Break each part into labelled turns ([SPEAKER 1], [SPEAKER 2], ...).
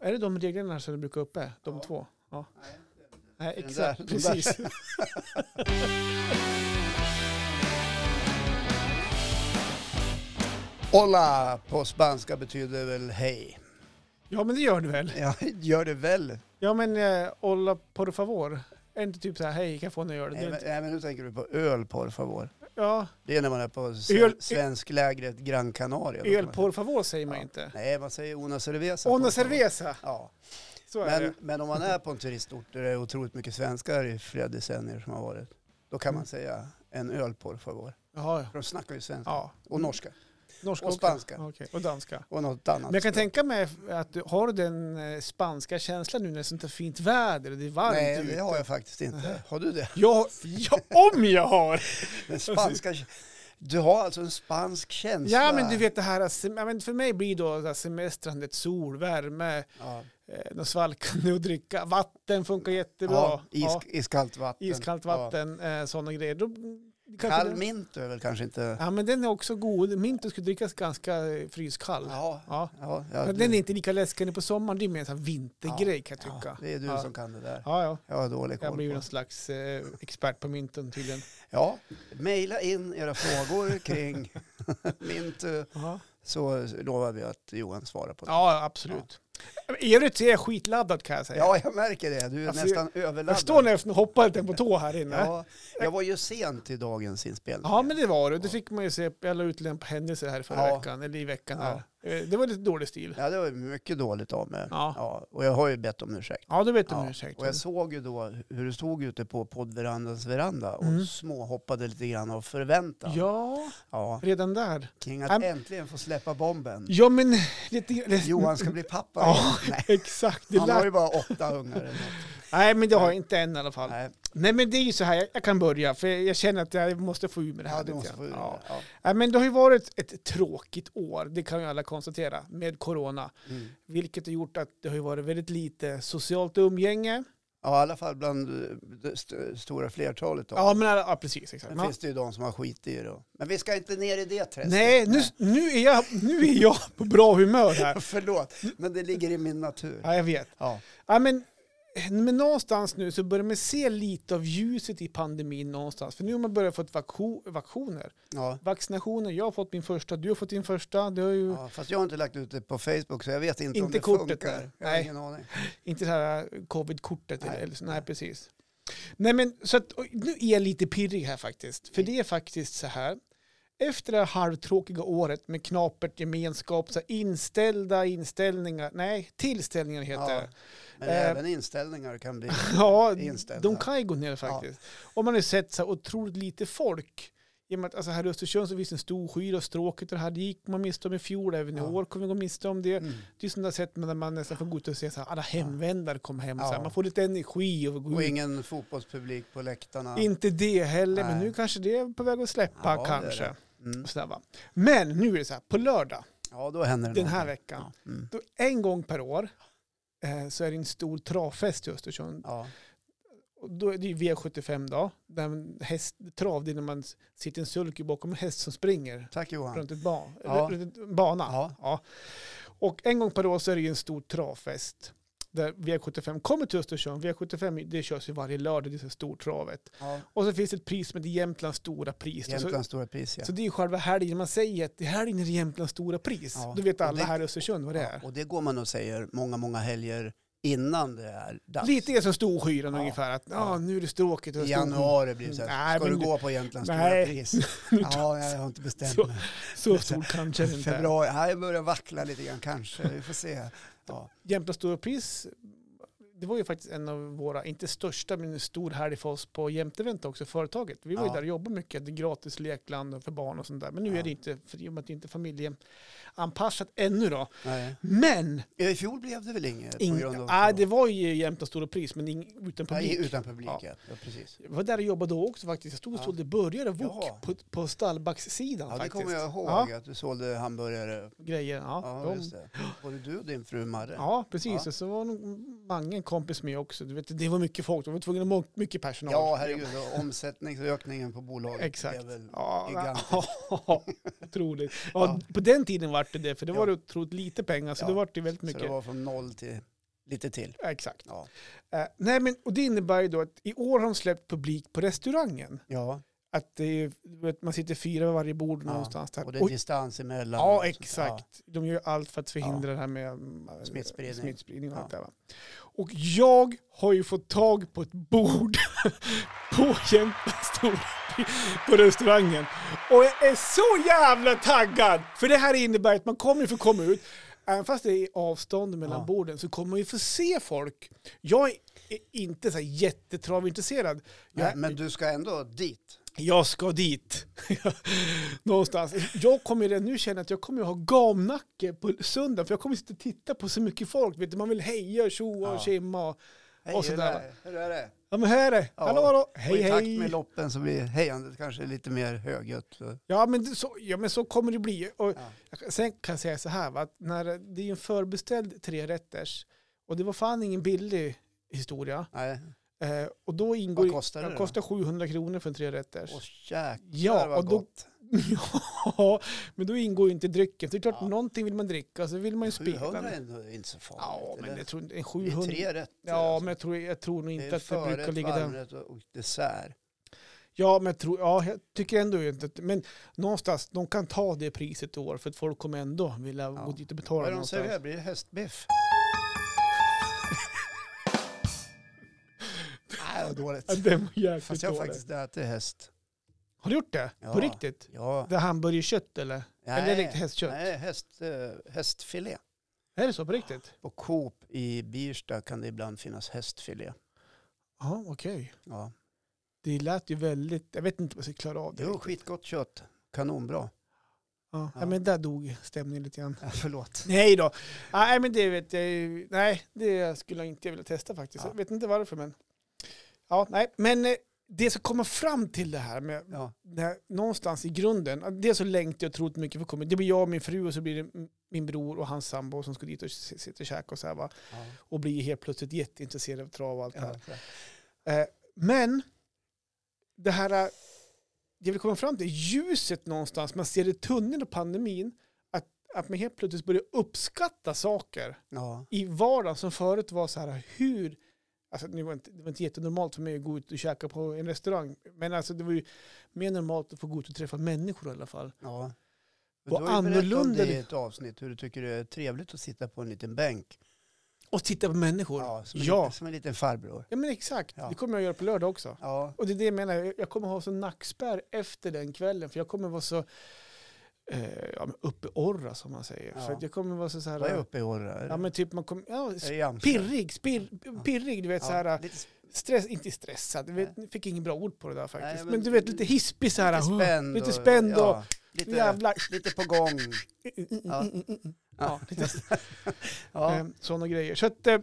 [SPEAKER 1] Är det de reglerna som du brukar uppe? De
[SPEAKER 2] Ja.
[SPEAKER 1] två? Ja.
[SPEAKER 2] Nej, det är det inte.
[SPEAKER 1] Nej,
[SPEAKER 2] Den
[SPEAKER 1] exakt.
[SPEAKER 2] där- den där.
[SPEAKER 1] Precis.
[SPEAKER 2] Hola på spanska betyder väl hej.
[SPEAKER 1] Ja, men det gör du väl?
[SPEAKER 2] Ja, gör det väl.
[SPEAKER 1] Ja, men eh, olla por favor. Är det inte typ så här, hej, kan jag få en öl? Det är
[SPEAKER 2] Nej men,
[SPEAKER 1] inte-
[SPEAKER 2] nej, men nu tänker du på öl por favor.
[SPEAKER 1] Ja,
[SPEAKER 2] Det är när man är på
[SPEAKER 1] Öl-
[SPEAKER 2] öl, svensklägret Gran Canaria. då kan
[SPEAKER 1] öl
[SPEAKER 2] man-
[SPEAKER 1] por favor säger man
[SPEAKER 2] Ja.
[SPEAKER 1] inte.
[SPEAKER 2] Nej, man säger una cerveza. por
[SPEAKER 1] Ona
[SPEAKER 2] favor.
[SPEAKER 1] cerveza,
[SPEAKER 2] Ja,
[SPEAKER 1] så är
[SPEAKER 2] men,
[SPEAKER 1] det.
[SPEAKER 2] men om man är på en turistort där det är otroligt mycket svenskar i flera decennier som har varit, då kan
[SPEAKER 1] Mm.
[SPEAKER 2] man säga en öl por favor.
[SPEAKER 1] Jaha, ja.
[SPEAKER 2] För de snackar ju svenska
[SPEAKER 1] ja.
[SPEAKER 2] och norska
[SPEAKER 1] Norska
[SPEAKER 2] och
[SPEAKER 1] också.
[SPEAKER 2] spanska.
[SPEAKER 1] Ja, okej. Och danska.
[SPEAKER 2] och något annat.
[SPEAKER 1] Men jag kan
[SPEAKER 2] språk.
[SPEAKER 1] tänka mig att du har den eh, spanska känslan nu när det är sånt här fint väder och det är varmt
[SPEAKER 2] Nej,
[SPEAKER 1] ute.
[SPEAKER 2] det har jag faktiskt inte. Har du det?
[SPEAKER 1] Ja, ja, om jag har!
[SPEAKER 2] Den spanska... Du har alltså en spansk känsla?
[SPEAKER 1] Ja, men du vet det här, sem- ja, men för mig blir då det här semestrandet sol, värme,
[SPEAKER 2] Ja,
[SPEAKER 1] eh, något svalkande att dricka, vatten funkar jättebra.
[SPEAKER 2] ja, is,
[SPEAKER 1] Ja,
[SPEAKER 2] Iskallt vatten.
[SPEAKER 1] iskallt vatten, eh, sådana grejer. Då,
[SPEAKER 2] Ja.
[SPEAKER 1] kanske
[SPEAKER 2] Kall
[SPEAKER 1] den-
[SPEAKER 2] mint är väl kanske inte...
[SPEAKER 1] Ja, men den är också god. Minten skulle drickas ganska eh, fryskall. Ja.
[SPEAKER 2] Ja, ja, ja,
[SPEAKER 1] Men den är inte lika läskande på sommaren. Det är mer en sån här vintergrej kan jag
[SPEAKER 2] ja,
[SPEAKER 1] tycka.
[SPEAKER 2] det är du
[SPEAKER 1] Ja.
[SPEAKER 2] som kan det där.
[SPEAKER 1] Ja, ja.
[SPEAKER 2] Jag har dålig
[SPEAKER 1] Jag
[SPEAKER 2] koll
[SPEAKER 1] blir ju
[SPEAKER 2] på
[SPEAKER 1] någon slags eh, expert på mynten tydligen.
[SPEAKER 2] Ja, mejla in era frågor kring mint eh,
[SPEAKER 1] Ja,
[SPEAKER 2] så lovar vi att Johan svarar på det.
[SPEAKER 1] ja absolut. I övrigt så är jag skitladdad kan jag säga.
[SPEAKER 2] Ja, jag märker det. Du är
[SPEAKER 1] Alltså,
[SPEAKER 2] nästan
[SPEAKER 1] jag står
[SPEAKER 2] överladdad.
[SPEAKER 1] nästan och hoppar lite på tå här inne. Ja.
[SPEAKER 2] Ja, jag var ju sen till dagens inspelning.
[SPEAKER 1] men det var det. Det fick man ju se. Jag la ut en på händelser här förra
[SPEAKER 2] Ja.
[SPEAKER 1] veckan, eller i veckan
[SPEAKER 2] Ja.
[SPEAKER 1] här. Eh, Det var lite dålig stil.
[SPEAKER 2] Ja, det var ju mycket dåligt av mig.
[SPEAKER 1] Ja.
[SPEAKER 2] Ja, och jag har ju bett om ursäkt.
[SPEAKER 1] Ja, du vet du om
[SPEAKER 2] Ja,
[SPEAKER 1] ursäkt.
[SPEAKER 2] och jag såg ju då hur du stod ute på poddverandans veranda och
[SPEAKER 1] Mm.
[SPEAKER 2] småhoppade lite grann av förväntan.
[SPEAKER 1] Ja,
[SPEAKER 2] Ja,
[SPEAKER 1] redan där.
[SPEAKER 2] kring att
[SPEAKER 1] Äm-
[SPEAKER 2] äntligen få släppa bomben.
[SPEAKER 1] Ja, men lite...
[SPEAKER 2] Johan ska bli pappa.
[SPEAKER 1] Ja,
[SPEAKER 2] Nej,
[SPEAKER 1] exakt. Det
[SPEAKER 2] han har
[SPEAKER 1] lät...
[SPEAKER 2] ju bara åtta ungar. eller något.
[SPEAKER 1] Nej, men det har jag inte än i alla fall. Nej,
[SPEAKER 2] Nej,
[SPEAKER 1] men det är ju så här, jag- jag kan börja, för jag känner att jag måste få ur mig det här.
[SPEAKER 2] ja, du
[SPEAKER 1] lite
[SPEAKER 2] måste
[SPEAKER 1] grann.
[SPEAKER 2] få ur det.
[SPEAKER 1] ja.
[SPEAKER 2] Ja.
[SPEAKER 1] Nej, men det har ju varit ett tråkigt år, det kan ju alla konstatera, med corona.
[SPEAKER 2] Mm.
[SPEAKER 1] Vilket har gjort att det har ju varit väldigt lite socialt umgänge.
[SPEAKER 2] Ja, i alla fall bland eh, det st- stora flertalet av
[SPEAKER 1] Ja,
[SPEAKER 2] dem.
[SPEAKER 1] men ja, precis. Exakt.
[SPEAKER 2] Sen
[SPEAKER 1] Ja.
[SPEAKER 2] finns det ju de som har skit i det. då. Men vi ska inte ner i det träsket.
[SPEAKER 1] Nej, nu, nu, är jag, nu är jag på bra humör här.
[SPEAKER 2] Förlåt, men det ligger i min natur.
[SPEAKER 1] Ja, jag vet.
[SPEAKER 2] Ja,
[SPEAKER 1] Ja, men, men någonstans nu så börjar man se lite av ljuset i pandemin någonstans. För nu har man börjat få vaku- vacciner.
[SPEAKER 2] ja.
[SPEAKER 1] Vaccinationer, jag har fått min första, du har fått din första. Det har ju
[SPEAKER 2] Ja, fast jag har inte lagt ut det på Facebook så jag vet inte, om
[SPEAKER 1] Inte
[SPEAKER 2] det
[SPEAKER 1] kortet
[SPEAKER 2] funkar.
[SPEAKER 1] där.
[SPEAKER 2] Jag har
[SPEAKER 1] Nej.
[SPEAKER 2] ingen aning.
[SPEAKER 1] inte det här covid-kortet.
[SPEAKER 2] Nej.
[SPEAKER 1] Nej. Eller, så. nej, precis. Nej, men så att, och nu är jag lite pirrig här faktiskt.
[SPEAKER 2] Mm.
[SPEAKER 1] För det är faktiskt så här. Efter det här halvtråkiga året med knapert gemenskap, så här, inställda inställningar, nej, tillställningar heter
[SPEAKER 2] Ja.
[SPEAKER 1] det.
[SPEAKER 2] Men
[SPEAKER 1] Eh.
[SPEAKER 2] även inställningar kan bli
[SPEAKER 1] Ja,
[SPEAKER 2] inställda.
[SPEAKER 1] de kan ju gå ner faktiskt. Och man har ju sett så här otroligt lite folk. I och med att, alltså här i Östersund så finns det en stor skyr och stråket och det här det gick man miste om i fjol, även i
[SPEAKER 2] Ja.
[SPEAKER 1] år kommer vi gå miste om det.
[SPEAKER 2] Mm.
[SPEAKER 1] Det är sådana där sätt när man nästan får gå ut och se så här, alla hemvändare kommer hem.
[SPEAKER 2] Ja.
[SPEAKER 1] Så här, man får lite energi och gå
[SPEAKER 2] Och
[SPEAKER 1] ut.
[SPEAKER 2] ingen fotbollspublik på läktarna.
[SPEAKER 1] Inte det heller, men
[SPEAKER 2] Nej.
[SPEAKER 1] nu kanske det är på väg att släppa
[SPEAKER 2] Ja, det är
[SPEAKER 1] kanske.
[SPEAKER 2] det. Mm.
[SPEAKER 1] Och sådär, va? Men nu är det så här, på lördag
[SPEAKER 2] Ja, då händer det
[SPEAKER 1] den här
[SPEAKER 2] någonting.
[SPEAKER 1] veckan,
[SPEAKER 2] Ja. Mm.
[SPEAKER 1] då en gång per år eh, så är det en stor travfest i Östersund.
[SPEAKER 2] Ja.
[SPEAKER 1] Och då är det ju V75 då. Där en häst, trav, det är när man sitter i en sulky bakom en häst som springer
[SPEAKER 2] Tack Johan.
[SPEAKER 1] runt, ett ba,
[SPEAKER 2] Ja.
[SPEAKER 1] runt en bana.
[SPEAKER 2] Ja.
[SPEAKER 1] Och en gång per år så är det ju en stor travfest. Där V75 kommer till Östersund. V75 det körs ju varje lördag, det är så stort travet.
[SPEAKER 2] Ja.
[SPEAKER 1] Och så finns det ett pris som heter Jämtlands stora pris. då.
[SPEAKER 2] Jämtlands stora pris ja.
[SPEAKER 1] Så, så det är ju själva helgen. Man säger att i helgen är det Jämtlands stora pris.
[SPEAKER 2] Ja.
[SPEAKER 1] Då vet
[SPEAKER 2] Och
[SPEAKER 1] alla
[SPEAKER 2] det-
[SPEAKER 1] här i Östersund vad det är.
[SPEAKER 2] Ja, Och det går man och säger många, många helger innan det är dags.
[SPEAKER 1] Lite är som Storskyran
[SPEAKER 2] Ja.
[SPEAKER 1] ungefär. Att,
[SPEAKER 2] Ja.
[SPEAKER 1] ah, nu är det stråkigt. och
[SPEAKER 2] I
[SPEAKER 1] Storskyran."
[SPEAKER 2] januari blir det så här,
[SPEAKER 1] Mm. Nej,
[SPEAKER 2] ska du
[SPEAKER 1] men du-
[SPEAKER 2] gå på Jämtlands stora
[SPEAKER 1] Nej.
[SPEAKER 2] pris? Ja, nej, jag har inte bestämt
[SPEAKER 1] Så-
[SPEAKER 2] mig.
[SPEAKER 1] Så stort kanske det inte är.
[SPEAKER 2] Februari, ja, jag börjar vackla lite grann kanske, vi får se. Ja.
[SPEAKER 1] Jämtlands stora pris, det var ju faktiskt en av våra, inte största, men en stor helg för oss på Jämtevent också, företaget. Vi var ju
[SPEAKER 2] Ja.
[SPEAKER 1] där och jobbade mycket, det är gratis lekland för barn och sånt där. Men nu
[SPEAKER 2] Ja.
[SPEAKER 1] är det inte, för i och med att det inte är familjeanpassat ännu då.
[SPEAKER 2] Nej.
[SPEAKER 1] Men,
[SPEAKER 2] I fjol blev det väl inget
[SPEAKER 1] ing,
[SPEAKER 2] på grund av...
[SPEAKER 1] nej, det var ju Jämtlands stora pris, men ing, utan publik.
[SPEAKER 2] Nej, utan publik, ja.
[SPEAKER 1] Ja.
[SPEAKER 2] ja. precis.
[SPEAKER 1] Jag var där och jobbade då också faktiskt. Jag stod och
[SPEAKER 2] Ja.
[SPEAKER 1] sålde burgare och wok
[SPEAKER 2] Ja.
[SPEAKER 1] på, på stallbackssidan
[SPEAKER 2] Ja, det
[SPEAKER 1] faktiskt.
[SPEAKER 2] kommer jag ihåg, att du sålde hamburgare.
[SPEAKER 1] Grejer, ja.
[SPEAKER 2] Ja,
[SPEAKER 1] de-
[SPEAKER 2] just det. Både du och din fru Marre.
[SPEAKER 1] Ja, precis.
[SPEAKER 2] Ja.
[SPEAKER 1] Och så var nog Mange en kompis med också. Du vet, det var mycket folk. De var tvungna att ha mycket personal.
[SPEAKER 2] Ja, herregud. Och omsättningsökningen på bolaget
[SPEAKER 1] Exakt.
[SPEAKER 2] blev väl
[SPEAKER 1] Ja,
[SPEAKER 2] gigantisk.
[SPEAKER 1] otroligt. Ja,
[SPEAKER 2] Ja.
[SPEAKER 1] På den tiden var det det, för det var
[SPEAKER 2] Ja.
[SPEAKER 1] det otroligt lite pengar, så
[SPEAKER 2] Ja.
[SPEAKER 1] det var det väldigt
[SPEAKER 2] Så det
[SPEAKER 1] mycket.
[SPEAKER 2] var från noll till lite till.
[SPEAKER 1] Exakt.
[SPEAKER 2] Ja.
[SPEAKER 1] Eh, nej, men, och det innebär ju då att i år har de släppt publik på restaurangen.
[SPEAKER 2] ja.
[SPEAKER 1] Att det är, du vet, man sitter fyra vid varje bord
[SPEAKER 2] Ja,
[SPEAKER 1] någonstans. Där.
[SPEAKER 2] Och det är
[SPEAKER 1] Oj,
[SPEAKER 2] distans emellan. och
[SPEAKER 1] ja,
[SPEAKER 2] sånt där.
[SPEAKER 1] exakt. De gör ju allt för att förhindra det här med mm,
[SPEAKER 2] Smittspridning.
[SPEAKER 1] smittspridning och
[SPEAKER 2] Ja.
[SPEAKER 1] allt det där, va? Och jag har ju fått tag på ett bord på Jämtlandstor på restaurangen. Och jag är så jävla taggad! För det här innebär att man kommer ju få komma ut. Även fast det är avstånd mellan
[SPEAKER 2] Ja.
[SPEAKER 1] borden så kommer man ju få se folk. Jag är inte så här jättetravintresserad.
[SPEAKER 2] Ja.
[SPEAKER 1] Jag,
[SPEAKER 2] Men, men du ska ändå dit.
[SPEAKER 1] jag ska dit. Någonstans. Jag kommer ju redan nu känna att jag kommer ju ha gamnacke på söndag. För jag kommer sitta och titta på så mycket folk. Vet du, man vill heja och tjoa
[SPEAKER 2] Ja.
[SPEAKER 1] och tjimma. och-
[SPEAKER 2] Hej,
[SPEAKER 1] Och
[SPEAKER 2] hur,
[SPEAKER 1] sådär,
[SPEAKER 2] är, hur är det?
[SPEAKER 1] Ja men här är det.
[SPEAKER 2] Ja.
[SPEAKER 1] Hallå hallå.
[SPEAKER 2] och
[SPEAKER 1] Hej
[SPEAKER 2] I takt
[SPEAKER 1] hej.
[SPEAKER 2] med loppen så blir hejandet kanske lite mer högljutt. Så-
[SPEAKER 1] Ja men, det- så, ja men så kommer det bli. Och
[SPEAKER 2] Ja.
[SPEAKER 1] jag kan- Sen kan jag säga så här, va, att när det är ju en förbeställd trerätters och det var fan ingen billig historia.
[SPEAKER 2] Nej,
[SPEAKER 1] Eh, och då ingår
[SPEAKER 2] vad
[SPEAKER 1] ju-
[SPEAKER 2] kostar det
[SPEAKER 1] den
[SPEAKER 2] då?
[SPEAKER 1] kostar 700 kronor för en trerätters.
[SPEAKER 2] Åh jäklar
[SPEAKER 1] Ja,
[SPEAKER 2] vad
[SPEAKER 1] och då-
[SPEAKER 2] gott.
[SPEAKER 1] ja, men då ingår ju inte drycken. Så det är klart,
[SPEAKER 2] Ja.
[SPEAKER 1] någonting vill man dricka så vill man ju spela.
[SPEAKER 2] 700 är ändå inte så farligt.
[SPEAKER 1] Ja, men
[SPEAKER 2] eller?
[SPEAKER 1] jag tror inte, en
[SPEAKER 2] det är
[SPEAKER 1] 700.
[SPEAKER 2] tre rätter.
[SPEAKER 1] Ja, men jag tror, jag tror nog inte att det brukar ligga där.
[SPEAKER 2] där. och och dessert.
[SPEAKER 1] Ja, men jag, tror, ja, jag tycker ändå inte att, men någonstans, de kan ta det priset i år för att folk kommer ändå vilja gå dit och
[SPEAKER 2] Vad
[SPEAKER 1] betala
[SPEAKER 2] är det de
[SPEAKER 1] någonstans.
[SPEAKER 2] serverar? Blir det hästbiff? Nej, vad
[SPEAKER 1] Ja,
[SPEAKER 2] dåligt.
[SPEAKER 1] det var jäkligt
[SPEAKER 2] Fast jag har
[SPEAKER 1] dåligt.
[SPEAKER 2] faktiskt ätit häst.
[SPEAKER 1] Har du gjort det?
[SPEAKER 2] Ja.
[SPEAKER 1] På riktigt?
[SPEAKER 2] Ja.
[SPEAKER 1] Det är hamburgerkött eller? Eller riktigt hästkött?
[SPEAKER 2] Nej, häst, eh, hästfilé.
[SPEAKER 1] Är det så på riktigt?
[SPEAKER 2] På Coop i Birsta kan det ibland finnas hästfilé.
[SPEAKER 1] Ja, okej.
[SPEAKER 2] Ja.
[SPEAKER 1] Det lät ju väldigt, jag vet inte om jag ska klara av det.
[SPEAKER 2] Det var
[SPEAKER 1] riktigt.
[SPEAKER 2] skitgott kött. Kanonbra.
[SPEAKER 1] Ja. Ja.
[SPEAKER 2] Ja.
[SPEAKER 1] men där dog stämningen lite grann.
[SPEAKER 2] Ja, förlåt.
[SPEAKER 1] Nej då. Ah, Nej, men det vet jag ju. Nej, det skulle jag inte vilja testa faktiskt.
[SPEAKER 2] Ja.
[SPEAKER 1] Jag vet inte varför, men. Ja, nej, men eh, det som kommer fram till det här med
[SPEAKER 2] Ja.
[SPEAKER 1] det här, någonstans i grunden. att Det så längtar jag otroligt mycket för att komma. Det blir jag och min fru och så blir det m- min bror och hans sambo som ska dit och s- sitta och käka och så här va.
[SPEAKER 2] Ja.
[SPEAKER 1] Och blir helt plötsligt jätteintresserad av trav och allt det här.
[SPEAKER 2] Ja.
[SPEAKER 1] Eh, men det här, eh, det vill komma fram till, ljuset någonstans, man ser i tunneln och pandemin, att, att man helt plötsligt börjar uppskatta saker
[SPEAKER 2] ja.
[SPEAKER 1] i vardagen som förut var så här, hur, alltså det var, inte, det var inte jättenormalt för mig att gå ut och käka på en restaurang, men alltså det var ju mer normalt att få gå ut och träffa människor i alla fall.
[SPEAKER 2] Ja. Du
[SPEAKER 1] Och
[SPEAKER 2] har ju berättat om
[SPEAKER 1] annorlunda
[SPEAKER 2] det
[SPEAKER 1] det-
[SPEAKER 2] i ett avsnitt, hur du tycker det är trevligt att sitta på en liten bänk.
[SPEAKER 1] Och titta på människor. Ja,
[SPEAKER 2] Ja, som en,
[SPEAKER 1] Ja.
[SPEAKER 2] liten, som en liten farbror.
[SPEAKER 1] men exakt,
[SPEAKER 2] Ja.
[SPEAKER 1] det kommer jag göra på lördag också.
[SPEAKER 2] Ja,
[SPEAKER 1] Och det är det jag menar, jag- jag kommer ha så nackspärr efter den kvällen, för jag kommer vara så eh, ja, men uppeorra som man säger.
[SPEAKER 2] Ja.
[SPEAKER 1] För att jag kommer vara så, så här,
[SPEAKER 2] vad är uppe i åren?
[SPEAKER 1] ja men typ man kommer, ja,
[SPEAKER 2] Är det i Amsterdam?
[SPEAKER 1] pirrig, spir, pirrig, du vet så
[SPEAKER 2] Ja,
[SPEAKER 1] här,
[SPEAKER 2] lite,
[SPEAKER 1] stress, inte stressad, du vet, jag fick inget bra ord på det där faktiskt.
[SPEAKER 2] Nej,
[SPEAKER 1] men,
[SPEAKER 2] men
[SPEAKER 1] du vet lite hispig så här,
[SPEAKER 2] lite spänd.
[SPEAKER 1] lite spänd och, Mm,
[SPEAKER 2] ja, lite,
[SPEAKER 1] jävlar.
[SPEAKER 2] lite på gång.
[SPEAKER 1] Ja. Ja, lite Eh,
[SPEAKER 2] Ja,
[SPEAKER 1] sådana Ehm, grejer. Så att, eh,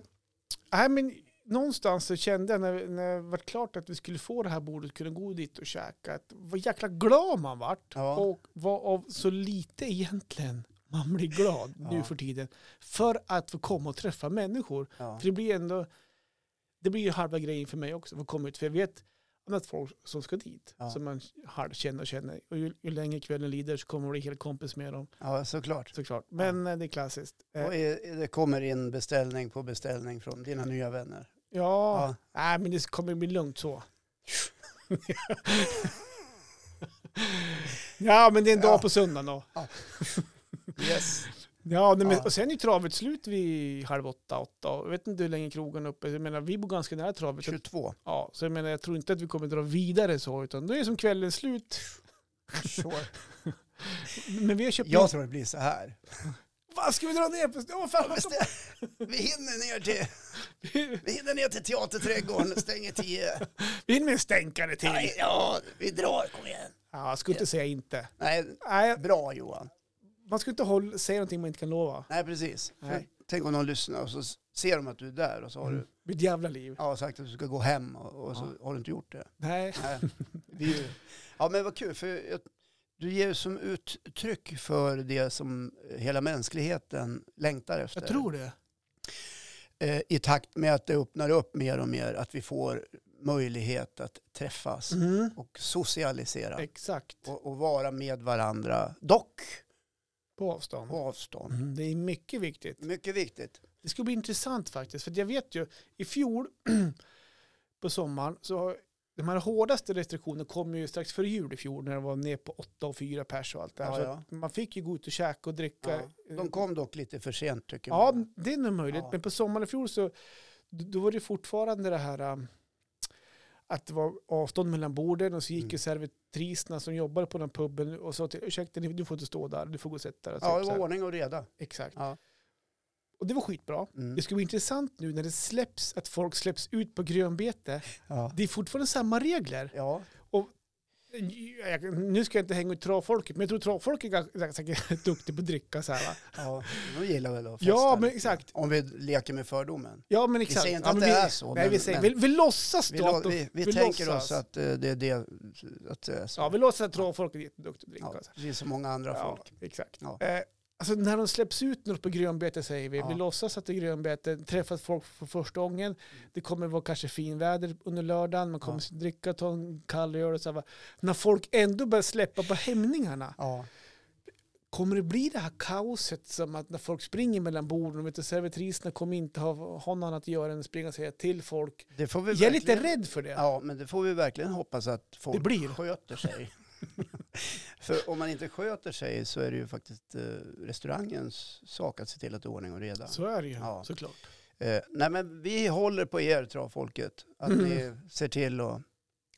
[SPEAKER 1] nej, men någonstans så kände jag när, när det var klart att vi skulle få det här bordet, kunna gå dit och käka, att vad jäkla glad man vart.
[SPEAKER 2] Ja.
[SPEAKER 1] Och vad av så lite egentligen man blir glad nu
[SPEAKER 2] Ja.
[SPEAKER 1] för tiden. För att få komma och träffa människor.
[SPEAKER 2] ja.
[SPEAKER 1] För det blir ändå, det blir ju halva grejen för mig också, att få komma ut. För jag vet annat folk som ska dit,
[SPEAKER 2] Ja.
[SPEAKER 1] som man halvkänner och känner. Och ju, ju längre kvällen lider så kommer man bli helt kompis med dem,
[SPEAKER 2] ja såklart.
[SPEAKER 1] såklart. Men eh, det är klassiskt. Eh,
[SPEAKER 2] Och är- det kommer in beställning på beställning från dina nya vänner.
[SPEAKER 1] ja.
[SPEAKER 2] Ja,
[SPEAKER 1] Nej, men det kommer bli lugnt så. ja, men det är en
[SPEAKER 2] Ja.
[SPEAKER 1] dag på söndagen då.
[SPEAKER 2] yes.
[SPEAKER 1] Ja, nej, men,
[SPEAKER 2] Ja.
[SPEAKER 1] och sen är travet slut vid halv åtta, åtta. Jag vet inte hur länge krogen är uppe. Jag menar, vi bor ganska nära travet. Så,
[SPEAKER 2] 22.
[SPEAKER 1] ja, så jag menar, jag tror inte att vi kommer dra vidare så, utan då är det som kvällen slut.
[SPEAKER 2] Sure.
[SPEAKER 1] Men vi har köpt...
[SPEAKER 2] Jag tror det blir så här.
[SPEAKER 1] Vad ska vi dra ner på? Ja, fan, vad
[SPEAKER 2] Just det. Vi hinner ner till,
[SPEAKER 1] vi,
[SPEAKER 2] vi hinner ner till teaterträdgården och stänger tio.
[SPEAKER 1] vi hinner med en stänkare till.
[SPEAKER 2] Nej, ja, vi drar. Kom igen.
[SPEAKER 1] Ja, jag skulle inte säga inte.
[SPEAKER 2] Nej,
[SPEAKER 1] Nej,
[SPEAKER 2] bra Johan.
[SPEAKER 1] man ska inte hålla, säga någonting man inte kan lova.
[SPEAKER 2] Nej, precis. För
[SPEAKER 1] Nej. Mm.
[SPEAKER 2] Tänk om någon lyssnar och så s- ser de att du är där och så har du
[SPEAKER 1] Mitt jävla liv.
[SPEAKER 2] ja, sagt att du ska gå hem och, och så har du inte gjort det.
[SPEAKER 1] Nej.
[SPEAKER 2] Nej. Vi är ju, ja, men vad kul. För jag, du ger ju som uttryck för det som eh, hela mänskligheten längtar efter.
[SPEAKER 1] Jag tror det.
[SPEAKER 2] Eh, I takt med att det öppnar upp mer och mer, att vi får möjlighet att träffas
[SPEAKER 1] Mm.
[SPEAKER 2] och socialisera
[SPEAKER 1] Exakt.
[SPEAKER 2] och, och vara med varandra, dock
[SPEAKER 1] På avstånd.
[SPEAKER 2] på avstånd.
[SPEAKER 1] Mm, det är mycket viktigt.
[SPEAKER 2] Mycket viktigt.
[SPEAKER 1] Det skulle bli intressant faktiskt. För jag vet ju, i fjol på sommaren så de här hårdaste restriktionerna kom ju strax före jul i fjol när det var ner på 8 och 4 pers och allt det här.
[SPEAKER 2] Ja,
[SPEAKER 1] så
[SPEAKER 2] ja.
[SPEAKER 1] att Man fick ju gå ut och käka och dricka.
[SPEAKER 2] Ja. De kom dock lite för sent tycker
[SPEAKER 1] Ja,
[SPEAKER 2] man.
[SPEAKER 1] det är nog möjligt.
[SPEAKER 2] Ja.
[SPEAKER 1] Men på sommaren i fjol så då då var det fortfarande det här ähm, att det var avstånd mellan borden och så gick
[SPEAKER 2] Mm.
[SPEAKER 1] ju servitriserna som jobbade på den här puben och sa till ursäkta, ni- du får inte stå där, du får gå och sätta dig.
[SPEAKER 2] Ja,
[SPEAKER 1] Typ
[SPEAKER 2] det
[SPEAKER 1] så här.
[SPEAKER 2] var ordning och reda.
[SPEAKER 1] Exakt.
[SPEAKER 2] Ja.
[SPEAKER 1] Och det var skitbra.
[SPEAKER 2] Mm.
[SPEAKER 1] Det ska bli intressant nu när det släpps, att folk släpps ut på grönbete.
[SPEAKER 2] Ja.
[SPEAKER 1] Det är fortfarande samma regler.
[SPEAKER 2] Ja.
[SPEAKER 1] Jag- Nu ska jag inte hänga ut travfolket, men jag tror travfolket är ganska- säkert duktigt på att dricka så här. Va?
[SPEAKER 2] ja, de gillar väl att festa
[SPEAKER 1] Ja, men
[SPEAKER 2] lite.
[SPEAKER 1] exakt.
[SPEAKER 2] Om vi leker med fördomen.
[SPEAKER 1] Ja, men exakt.
[SPEAKER 2] säger inte
[SPEAKER 1] ja,
[SPEAKER 2] att
[SPEAKER 1] men
[SPEAKER 2] det är så,
[SPEAKER 1] Nej,
[SPEAKER 2] men-
[SPEAKER 1] vi, säger,
[SPEAKER 2] men-
[SPEAKER 1] vi, vi låtsas
[SPEAKER 2] Vi,
[SPEAKER 1] då att
[SPEAKER 2] lå-
[SPEAKER 1] de-
[SPEAKER 2] vi, vi,
[SPEAKER 1] vi
[SPEAKER 2] tänker
[SPEAKER 1] låtsas.
[SPEAKER 2] oss att eh, det är det, att det är så.
[SPEAKER 1] Ja, vi låtsas att travfolket är jätteduktigt på att dricka.
[SPEAKER 2] Ja,
[SPEAKER 1] så här.
[SPEAKER 2] det är så många andra
[SPEAKER 1] Ja,
[SPEAKER 2] folk.
[SPEAKER 1] exakt.
[SPEAKER 2] Ja.
[SPEAKER 1] Eh, alltså när de släpps ut nu på grönbete säger vi,
[SPEAKER 2] Ja.
[SPEAKER 1] vi låtsas att det är grönbete, träffat folk för första gången, det kommer vara kanske finväder under lördagen, man kommer dricka, ta en kall öl och så här, va. När folk ändå börjar släppa på hämningarna,
[SPEAKER 2] Ja.
[SPEAKER 1] kommer det bli det här kaoset som att när folk springer mellan borden, vet du, servitriserna kommer inte ha, ha något annat att göra än att springa och säga till folk.
[SPEAKER 2] Det får vi
[SPEAKER 1] Jag är lite
[SPEAKER 2] verkligen-
[SPEAKER 1] rädd för det.
[SPEAKER 2] Ja, men det får vi verkligen hoppas att folk
[SPEAKER 1] Det blir.
[SPEAKER 2] sköter sig. för om man inte sköter sig så är det ju faktiskt eh, restaurangens sak att se till att det är ordning och reda.
[SPEAKER 1] Så är det ju,
[SPEAKER 2] Ja.
[SPEAKER 1] såklart.
[SPEAKER 2] Eh, nej, men vi håller på er, travfolket. Att
[SPEAKER 1] Mm.
[SPEAKER 2] ni ser till att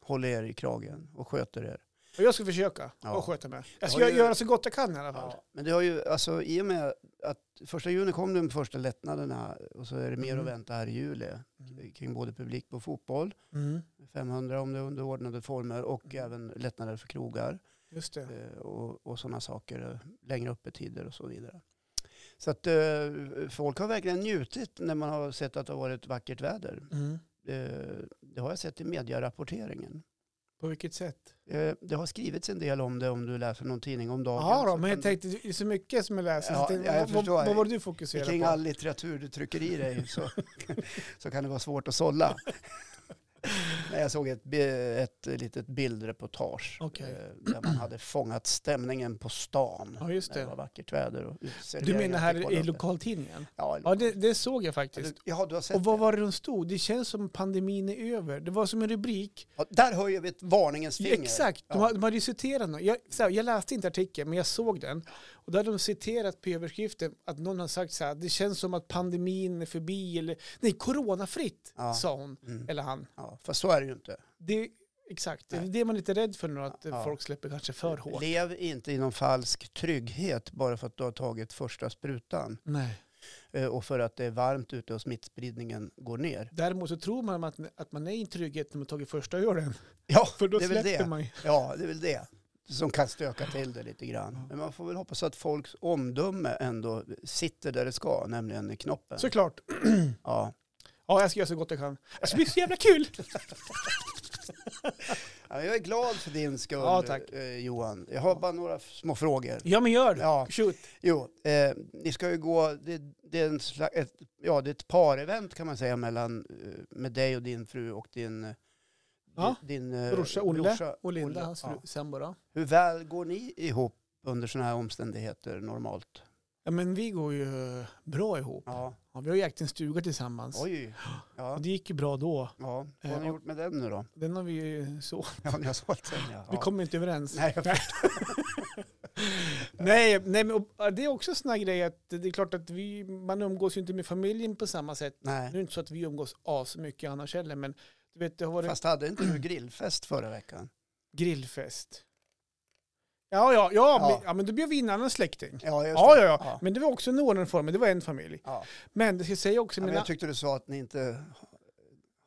[SPEAKER 2] hålla er i kragen och sköter er.
[SPEAKER 1] Och jag ska försöka
[SPEAKER 2] Ja.
[SPEAKER 1] att sköta mig.
[SPEAKER 2] Jag
[SPEAKER 1] Jag ska
[SPEAKER 2] har ju-
[SPEAKER 1] göra så gott jag kan i alla fall.
[SPEAKER 2] Ja, men det har ju, alltså i och med att första juni kom de första lättnaderna och så är det mer
[SPEAKER 1] Mm.
[SPEAKER 2] att vänta här i juli
[SPEAKER 1] Mm.
[SPEAKER 2] kring både publik på fotboll, 500 om det är under ordnade former och
[SPEAKER 1] Mm.
[SPEAKER 2] även lättnader för krogar.
[SPEAKER 1] Just det.
[SPEAKER 2] eh, och, och sådana saker, eh, längre öppettider och så vidare. Så att eh, folk har verkligen njutit när man har sett att det har varit vackert väder.
[SPEAKER 1] Mm.
[SPEAKER 2] Eh, det har jag sett i medierapporteringen.
[SPEAKER 1] På vilket sätt?
[SPEAKER 2] Eh, det har skrivits en del om det om du läser någon tidning om dagen.
[SPEAKER 1] Ja, då,
[SPEAKER 2] Så
[SPEAKER 1] men jag
[SPEAKER 2] kan-
[SPEAKER 1] tänkte, det är så mycket som jag läser.
[SPEAKER 2] Ja,
[SPEAKER 1] så jag tänkte,
[SPEAKER 2] jag
[SPEAKER 1] vad- vad,
[SPEAKER 2] förstår.
[SPEAKER 1] vad var det du
[SPEAKER 2] Kring
[SPEAKER 1] fokuserade på?
[SPEAKER 2] all litteratur du trycker i dig så, så kan det vara svårt att sålla. Nej, jag såg ett, bi- ett litet bildreportage
[SPEAKER 1] Okej.
[SPEAKER 2] eh, där man hade fångat stämningen på stan.
[SPEAKER 1] Ja, just
[SPEAKER 2] När det
[SPEAKER 1] det.
[SPEAKER 2] var vackert väder. Och
[SPEAKER 1] Du
[SPEAKER 2] uteserveringar
[SPEAKER 1] menar
[SPEAKER 2] fick
[SPEAKER 1] här
[SPEAKER 2] hålla
[SPEAKER 1] i
[SPEAKER 2] öppet.
[SPEAKER 1] lokaltidningen?
[SPEAKER 2] Ja, i
[SPEAKER 1] Ja,
[SPEAKER 2] lokal.
[SPEAKER 1] det, det såg jag
[SPEAKER 2] Ja,
[SPEAKER 1] faktiskt.
[SPEAKER 2] du- Jaha, du har sett
[SPEAKER 1] Och vad
[SPEAKER 2] det.
[SPEAKER 1] var det de stod? Det känns som pandemin är över. Det var som en rubrik.
[SPEAKER 2] Ja, där höjer vi ett varningens
[SPEAKER 1] Ja,
[SPEAKER 2] finger.
[SPEAKER 1] Exakt, de,
[SPEAKER 2] Ja.
[SPEAKER 1] har- de hade ju citerat någon. Jag, så här, jag läste inte artikeln, men jag såg den. Och där hade de citerat på överskriften att någon har sagt så här, det känns som att pandemin är förbi, eller nej, coronafritt,
[SPEAKER 2] Ja.
[SPEAKER 1] sa hon,
[SPEAKER 2] Mm.
[SPEAKER 1] eller han.
[SPEAKER 2] Ja, fast så är det ju inte.
[SPEAKER 1] Det, exakt, det är
[SPEAKER 2] Nej.
[SPEAKER 1] det man är lite rädd för nu, att eh,
[SPEAKER 2] Ja.
[SPEAKER 1] folk släpper kanske för hårt.
[SPEAKER 2] Lev inte i någon falsk trygghet bara för att du har tagit första sprutan
[SPEAKER 1] Nej.
[SPEAKER 2] eh, och för att det är varmt ute och smittspridningen går ner.
[SPEAKER 1] Däremot så tror man att, att man är i en trygghet när man tagit första ölen,
[SPEAKER 2] Ja,
[SPEAKER 1] för då
[SPEAKER 2] det är väl
[SPEAKER 1] släpper
[SPEAKER 2] det.
[SPEAKER 1] man ju.
[SPEAKER 2] Ja, det är väl det som kan stöka till det lite grann. Men man får väl hoppas att folks omdöme ändå sitter där det ska, nämligen i knoppen.
[SPEAKER 1] Såklart.
[SPEAKER 2] Ja.
[SPEAKER 1] Ja, jag ska göra så gott jag kan. Alltså, Det ska bli så jävla kul!
[SPEAKER 2] Ja, Jag är glad för din skull,
[SPEAKER 1] Ja, tack.
[SPEAKER 2] eh, Johan. Jag har bara några f- små frågor.
[SPEAKER 1] Ja, men gör det.
[SPEAKER 2] Ja,
[SPEAKER 1] Shoot.
[SPEAKER 2] Jo, eh, ni ska ju gå, det, det, är en slags, ett, ja, det är ett parevent kan man säga mellan, eh, med dig och din fru och din, eh,
[SPEAKER 1] Ja.
[SPEAKER 2] din eh,
[SPEAKER 1] Brorsa Olle och
[SPEAKER 2] Olle,
[SPEAKER 1] Linda, hans fru,
[SPEAKER 2] ja.
[SPEAKER 1] sambo då.
[SPEAKER 2] Hur väl går ni ihop under sådana här omständigheter normalt?
[SPEAKER 1] Ja, men vi går ju eh, bra ihop.
[SPEAKER 2] Ja.
[SPEAKER 1] Ja, vi har ju ägt en stuga tillsammans.
[SPEAKER 2] Oj. Ja.
[SPEAKER 1] Och det gick ju bra då.
[SPEAKER 2] ja. Vad har ni
[SPEAKER 1] Eh, och-
[SPEAKER 2] gjort med den nu då?
[SPEAKER 1] Den har vi ju så.
[SPEAKER 2] Ja, ni har sålt den ja.
[SPEAKER 1] Vi
[SPEAKER 2] Ja.
[SPEAKER 1] kommer inte överens.
[SPEAKER 2] Nej, jag
[SPEAKER 1] Nej, nej men och, ja, det är också en sån här grej att det är klart att vi, man umgås ju inte med familjen på samma sätt. Nu är
[SPEAKER 2] Nej.
[SPEAKER 1] det inte så att vi umgås asmycket annars heller, men du vet, det har varit
[SPEAKER 2] Fast hade inte du grillfest förra veckan?
[SPEAKER 1] grillfest. Ja, ja, ja,
[SPEAKER 2] Ja.
[SPEAKER 1] Men, ja, men då bjöd vi in en annan släkting.
[SPEAKER 2] Ja, just
[SPEAKER 1] Ja,
[SPEAKER 2] det.
[SPEAKER 1] ja, ja, Men det var också en ordnad form, men det var en familj.
[SPEAKER 2] Ja.
[SPEAKER 1] Men det ska jag säga också,
[SPEAKER 2] Ja, men
[SPEAKER 1] mina-
[SPEAKER 2] jag tyckte du sa att ni inte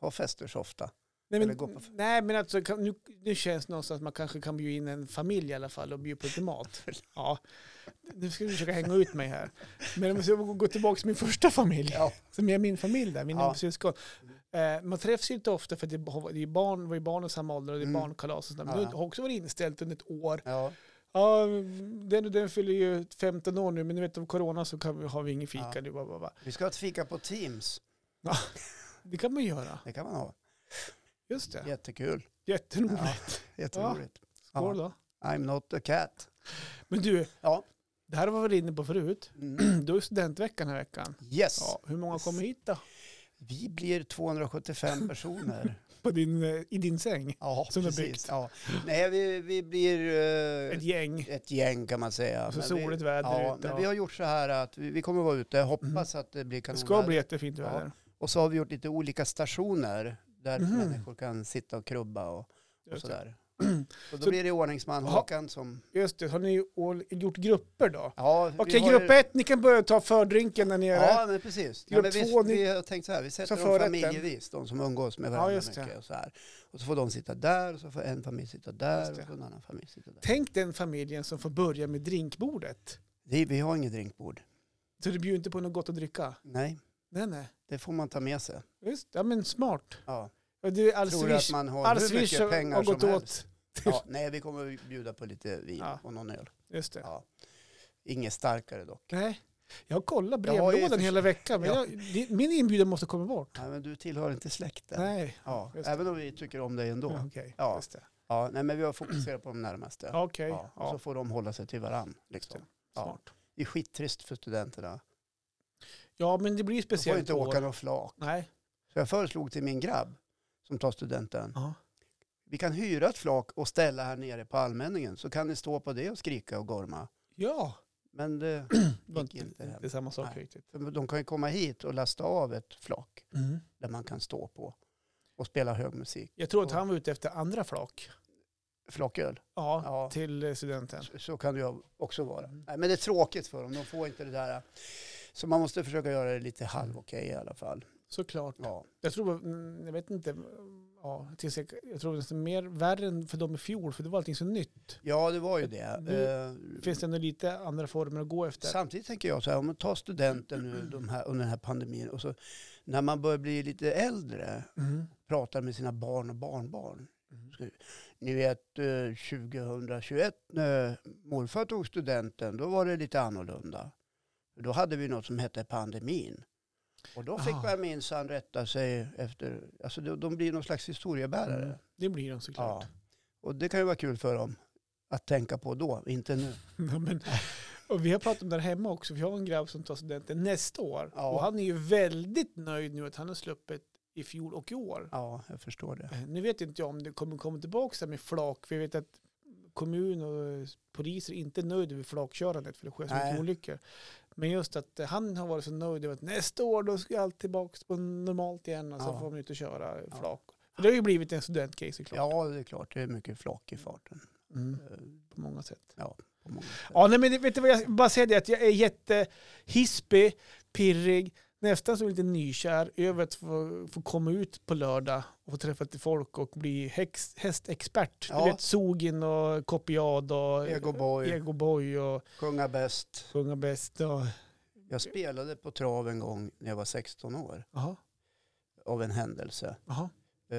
[SPEAKER 2] har fester så ofta.
[SPEAKER 1] Nej
[SPEAKER 2] Eller gå på
[SPEAKER 1] men,
[SPEAKER 2] f-
[SPEAKER 1] nej, men alltså, kan- nu, nu känns det någonstans att man kanske kan bjuda in en familj i alla fall och bjuda på lite mat. Ja, nu ska du försöka hänga ut mig här. Men om jag ska gå tillbaka till min första familj,
[SPEAKER 2] Ja.
[SPEAKER 1] som är min familj där, mina
[SPEAKER 2] Ja.
[SPEAKER 1] syskon. Eh, man träffs ju inte ofta för att det har- det är barn, var ju barn i samma ålder och det är
[SPEAKER 2] Mm.
[SPEAKER 1] barnkalas och sådär. Men
[SPEAKER 2] Ja.
[SPEAKER 1] det har också varit inställt under ett år.
[SPEAKER 2] Ja.
[SPEAKER 1] Ja, den, och den fyller ju 15 år nu, men du vet av corona så kan vi, har vi ingen fika.
[SPEAKER 2] Ja.
[SPEAKER 1] Det, bara, bara, bara.
[SPEAKER 2] Vi ska ha ett fika på Teams.
[SPEAKER 1] det kan man göra,
[SPEAKER 2] Det kan man ha.
[SPEAKER 1] just det.
[SPEAKER 2] Jättekul.
[SPEAKER 1] Jätteroligt.
[SPEAKER 2] Ja, jätteroligt.
[SPEAKER 1] Skål då.
[SPEAKER 2] I'm not a cat.
[SPEAKER 1] Men du,
[SPEAKER 2] Ja.
[SPEAKER 1] Det här var vi inne på förut.
[SPEAKER 2] Mm.
[SPEAKER 1] Då är studentveckan den här veckan.
[SPEAKER 2] Yes,
[SPEAKER 1] Ja, hur många kommer hit då?
[SPEAKER 2] vi blir 275 personer.
[SPEAKER 1] På din, eh, I din säng?
[SPEAKER 2] ja,
[SPEAKER 1] Som är byggt.
[SPEAKER 2] precis. Ja. Nej, vi, vi blir eh,
[SPEAKER 1] Ett gäng.
[SPEAKER 2] ett gäng kan man säga.
[SPEAKER 1] Och så
[SPEAKER 2] Men vi,
[SPEAKER 1] soligt väder
[SPEAKER 2] ja,
[SPEAKER 1] ute. och-
[SPEAKER 2] men
[SPEAKER 1] Mm.
[SPEAKER 2] vi har gjort så här att vi, vi kommer vara ute, hoppas att det blir
[SPEAKER 1] Det
[SPEAKER 2] kanon.
[SPEAKER 1] ska bli jättefint
[SPEAKER 2] Ja.
[SPEAKER 1] väder.
[SPEAKER 2] Och så har vi gjort lite olika stationer där
[SPEAKER 1] Mhm.
[SPEAKER 2] människor kan sitta och krubba och, och
[SPEAKER 1] Just det.
[SPEAKER 2] sådär. Och då
[SPEAKER 1] Så-
[SPEAKER 2] blir det ordningsman
[SPEAKER 1] Ja.
[SPEAKER 2] Håkan som...
[SPEAKER 1] Just det, har ni all- gjort grupper då?
[SPEAKER 2] Ja, vi
[SPEAKER 1] Okej,
[SPEAKER 2] har
[SPEAKER 1] grupp
[SPEAKER 2] ju-
[SPEAKER 1] ett, ni kan börja ta fördrinken där nere.
[SPEAKER 2] Ja, men precis. Ja,
[SPEAKER 1] Grupp
[SPEAKER 2] men
[SPEAKER 1] två,
[SPEAKER 2] vi,
[SPEAKER 1] ni-
[SPEAKER 2] vi har tänkt så här, vi sätter dem
[SPEAKER 1] förrätten.
[SPEAKER 2] familjevis, de som umgås med varandra
[SPEAKER 1] just det.
[SPEAKER 2] mycket. Och så, här. och så får de sitta där, och så får en familj sitta
[SPEAKER 1] Just
[SPEAKER 2] där, och
[SPEAKER 1] det.
[SPEAKER 2] så en annan familj sitta där.
[SPEAKER 1] Tänk den familjen som får börja med drinkbordet.
[SPEAKER 2] Vi, vi har inget drinkbord.
[SPEAKER 1] Så du bjuder inte på något gott att dricka?
[SPEAKER 2] Nej,
[SPEAKER 1] Nej, nej.
[SPEAKER 2] det får man ta med sig.
[SPEAKER 1] Just, ja men smart.
[SPEAKER 2] Ja.
[SPEAKER 1] Och det är all
[SPEAKER 2] Tror du att
[SPEAKER 1] swish,
[SPEAKER 2] man har
[SPEAKER 1] all
[SPEAKER 2] hur
[SPEAKER 1] swish
[SPEAKER 2] mycket
[SPEAKER 1] har,
[SPEAKER 2] pengar
[SPEAKER 1] har gått
[SPEAKER 2] som helst?
[SPEAKER 1] åt.
[SPEAKER 2] Ja, nej, vi kommer att bjuda på lite vin
[SPEAKER 1] Ja.
[SPEAKER 2] och någon öl.
[SPEAKER 1] Just det.
[SPEAKER 2] Ja. Inget starkare dock.
[SPEAKER 1] Nej. Jag har kollat
[SPEAKER 2] Jag har ju
[SPEAKER 1] brevlådan
[SPEAKER 2] förs-
[SPEAKER 1] hela veckan, men
[SPEAKER 2] Ja.
[SPEAKER 1] jag, det- min inbjudan måste komma bort.
[SPEAKER 2] Nej, men du tillhör inte släkten.
[SPEAKER 1] Nej,
[SPEAKER 2] Ja,
[SPEAKER 1] just det.
[SPEAKER 2] även om vi tycker om dig ändå.
[SPEAKER 1] ja,
[SPEAKER 2] Ja.
[SPEAKER 1] okej.
[SPEAKER 2] Ja.
[SPEAKER 1] Just det.
[SPEAKER 2] nej, men vi har fokuserat på de närmaste.
[SPEAKER 1] Ja, Okej,
[SPEAKER 2] Ja, och så
[SPEAKER 1] ja,
[SPEAKER 2] får de hålla sig till varann. Liksom. ja.
[SPEAKER 1] smart.
[SPEAKER 2] Det är skittrist för studenterna.
[SPEAKER 1] Ja, men det blir ju
[SPEAKER 2] De får
[SPEAKER 1] speciellt.
[SPEAKER 2] inte
[SPEAKER 1] i år.
[SPEAKER 2] åka någon flak.
[SPEAKER 1] Nej.
[SPEAKER 2] Så jag föreslog till min grabb som tar studenten.
[SPEAKER 1] Ja.
[SPEAKER 2] Vi kan hyra ett flak och ställa här nere på allmänningen så kan ni stå på det och skrika och gorma.
[SPEAKER 1] Ja,
[SPEAKER 2] Men det,
[SPEAKER 1] det var
[SPEAKER 2] Gick
[SPEAKER 1] inte,
[SPEAKER 2] inte hem.
[SPEAKER 1] inte samma sak
[SPEAKER 2] Nej.
[SPEAKER 1] riktigt.
[SPEAKER 2] för de kan ju komma hit och lasta av ett flak
[SPEAKER 1] Mm.
[SPEAKER 2] där man kan stå på och spela hög musik.
[SPEAKER 1] Jag tror att
[SPEAKER 2] Ja.
[SPEAKER 1] han var ute efter andra flak.
[SPEAKER 2] Flaköl,
[SPEAKER 1] Ja,
[SPEAKER 2] Ja.
[SPEAKER 1] till eh, studenten.
[SPEAKER 2] så, så kan det ju också vara.
[SPEAKER 1] Mm.
[SPEAKER 2] Nej, men det är tråkigt för dem, de får inte det där. Så man måste försöka göra det lite halv okej i alla fall.
[SPEAKER 1] Såklart.
[SPEAKER 2] Ja.
[SPEAKER 1] Jag tror, mm, jag vet inte, mm, ja, tills jag, jag tror det är mer värre än för dem i fjol, för det var allting så nytt.
[SPEAKER 2] ja, det var ju det.
[SPEAKER 1] Nu
[SPEAKER 2] Eh,
[SPEAKER 1] Finns det ändå lite andra former att gå efter?
[SPEAKER 2] Samtidigt tänker jag så här, om man tar studenten nu de här, under den här pandemin och så när man börjar bli lite äldre,
[SPEAKER 1] Mm.
[SPEAKER 2] pratar med sina barn och barnbarn.
[SPEAKER 1] Mm.
[SPEAKER 2] Ska- Ni vet eh, 2021 när morfar tog studenten, då var det lite annorlunda. Då hade vi något som hette pandemin. Och då fick
[SPEAKER 1] Ah.
[SPEAKER 2] man minsann rätta sig efter, alltså de, de blir någon slags historiebärare.
[SPEAKER 1] Mm. Det blir de såklart.
[SPEAKER 2] Ja. Och det kan ju vara kul för dem att tänka på då, inte nu.
[SPEAKER 1] Ja, men, och vi har pratat om det här hemma också, vi har en grabb som tar studenten nästa år.
[SPEAKER 2] Ja.
[SPEAKER 1] Och han är ju väldigt nöjd nu att han har sluppit i fjol och i år.
[SPEAKER 2] Ja, jag förstår det.
[SPEAKER 1] Eh, Nu vet inte jag om det kommer komma tillbaka så här med flak, för jag vet att kommun och eh, poliser inte är nöjda med flakkörandet, för det sker så mycket
[SPEAKER 2] Nej.
[SPEAKER 1] olyckor. Men just att eh, han har varit så nöjd över att nästa år då ska allt tillbaka på normalt igen och så
[SPEAKER 2] Ja.
[SPEAKER 1] får man ut och köra eh,
[SPEAKER 2] Ja.
[SPEAKER 1] flak. För det har ju blivit en studentcase såklart,
[SPEAKER 2] Ja, det är klart, det är mycket flak i farten.
[SPEAKER 1] mm,
[SPEAKER 2] Eh,
[SPEAKER 1] på många sätt.
[SPEAKER 2] på många sätt.
[SPEAKER 1] Ja, nej, men det- vet du vad jag bara säger det att jag är jättehispig, pirrig, nästan så lite nykär över att få, få komma ut på lördag och få träffa till folk och bli häx, hästexpert.
[SPEAKER 2] Ja.
[SPEAKER 1] Du vet, Sogin och Kopiad och
[SPEAKER 2] Egoboy.
[SPEAKER 1] Egoboy och
[SPEAKER 2] Sjunga bäst.
[SPEAKER 1] Sjunga bäst och...
[SPEAKER 2] Jag spelade på trav en gång när jag var 16 år
[SPEAKER 1] Jaha,
[SPEAKER 2] av en händelse.
[SPEAKER 1] jaha.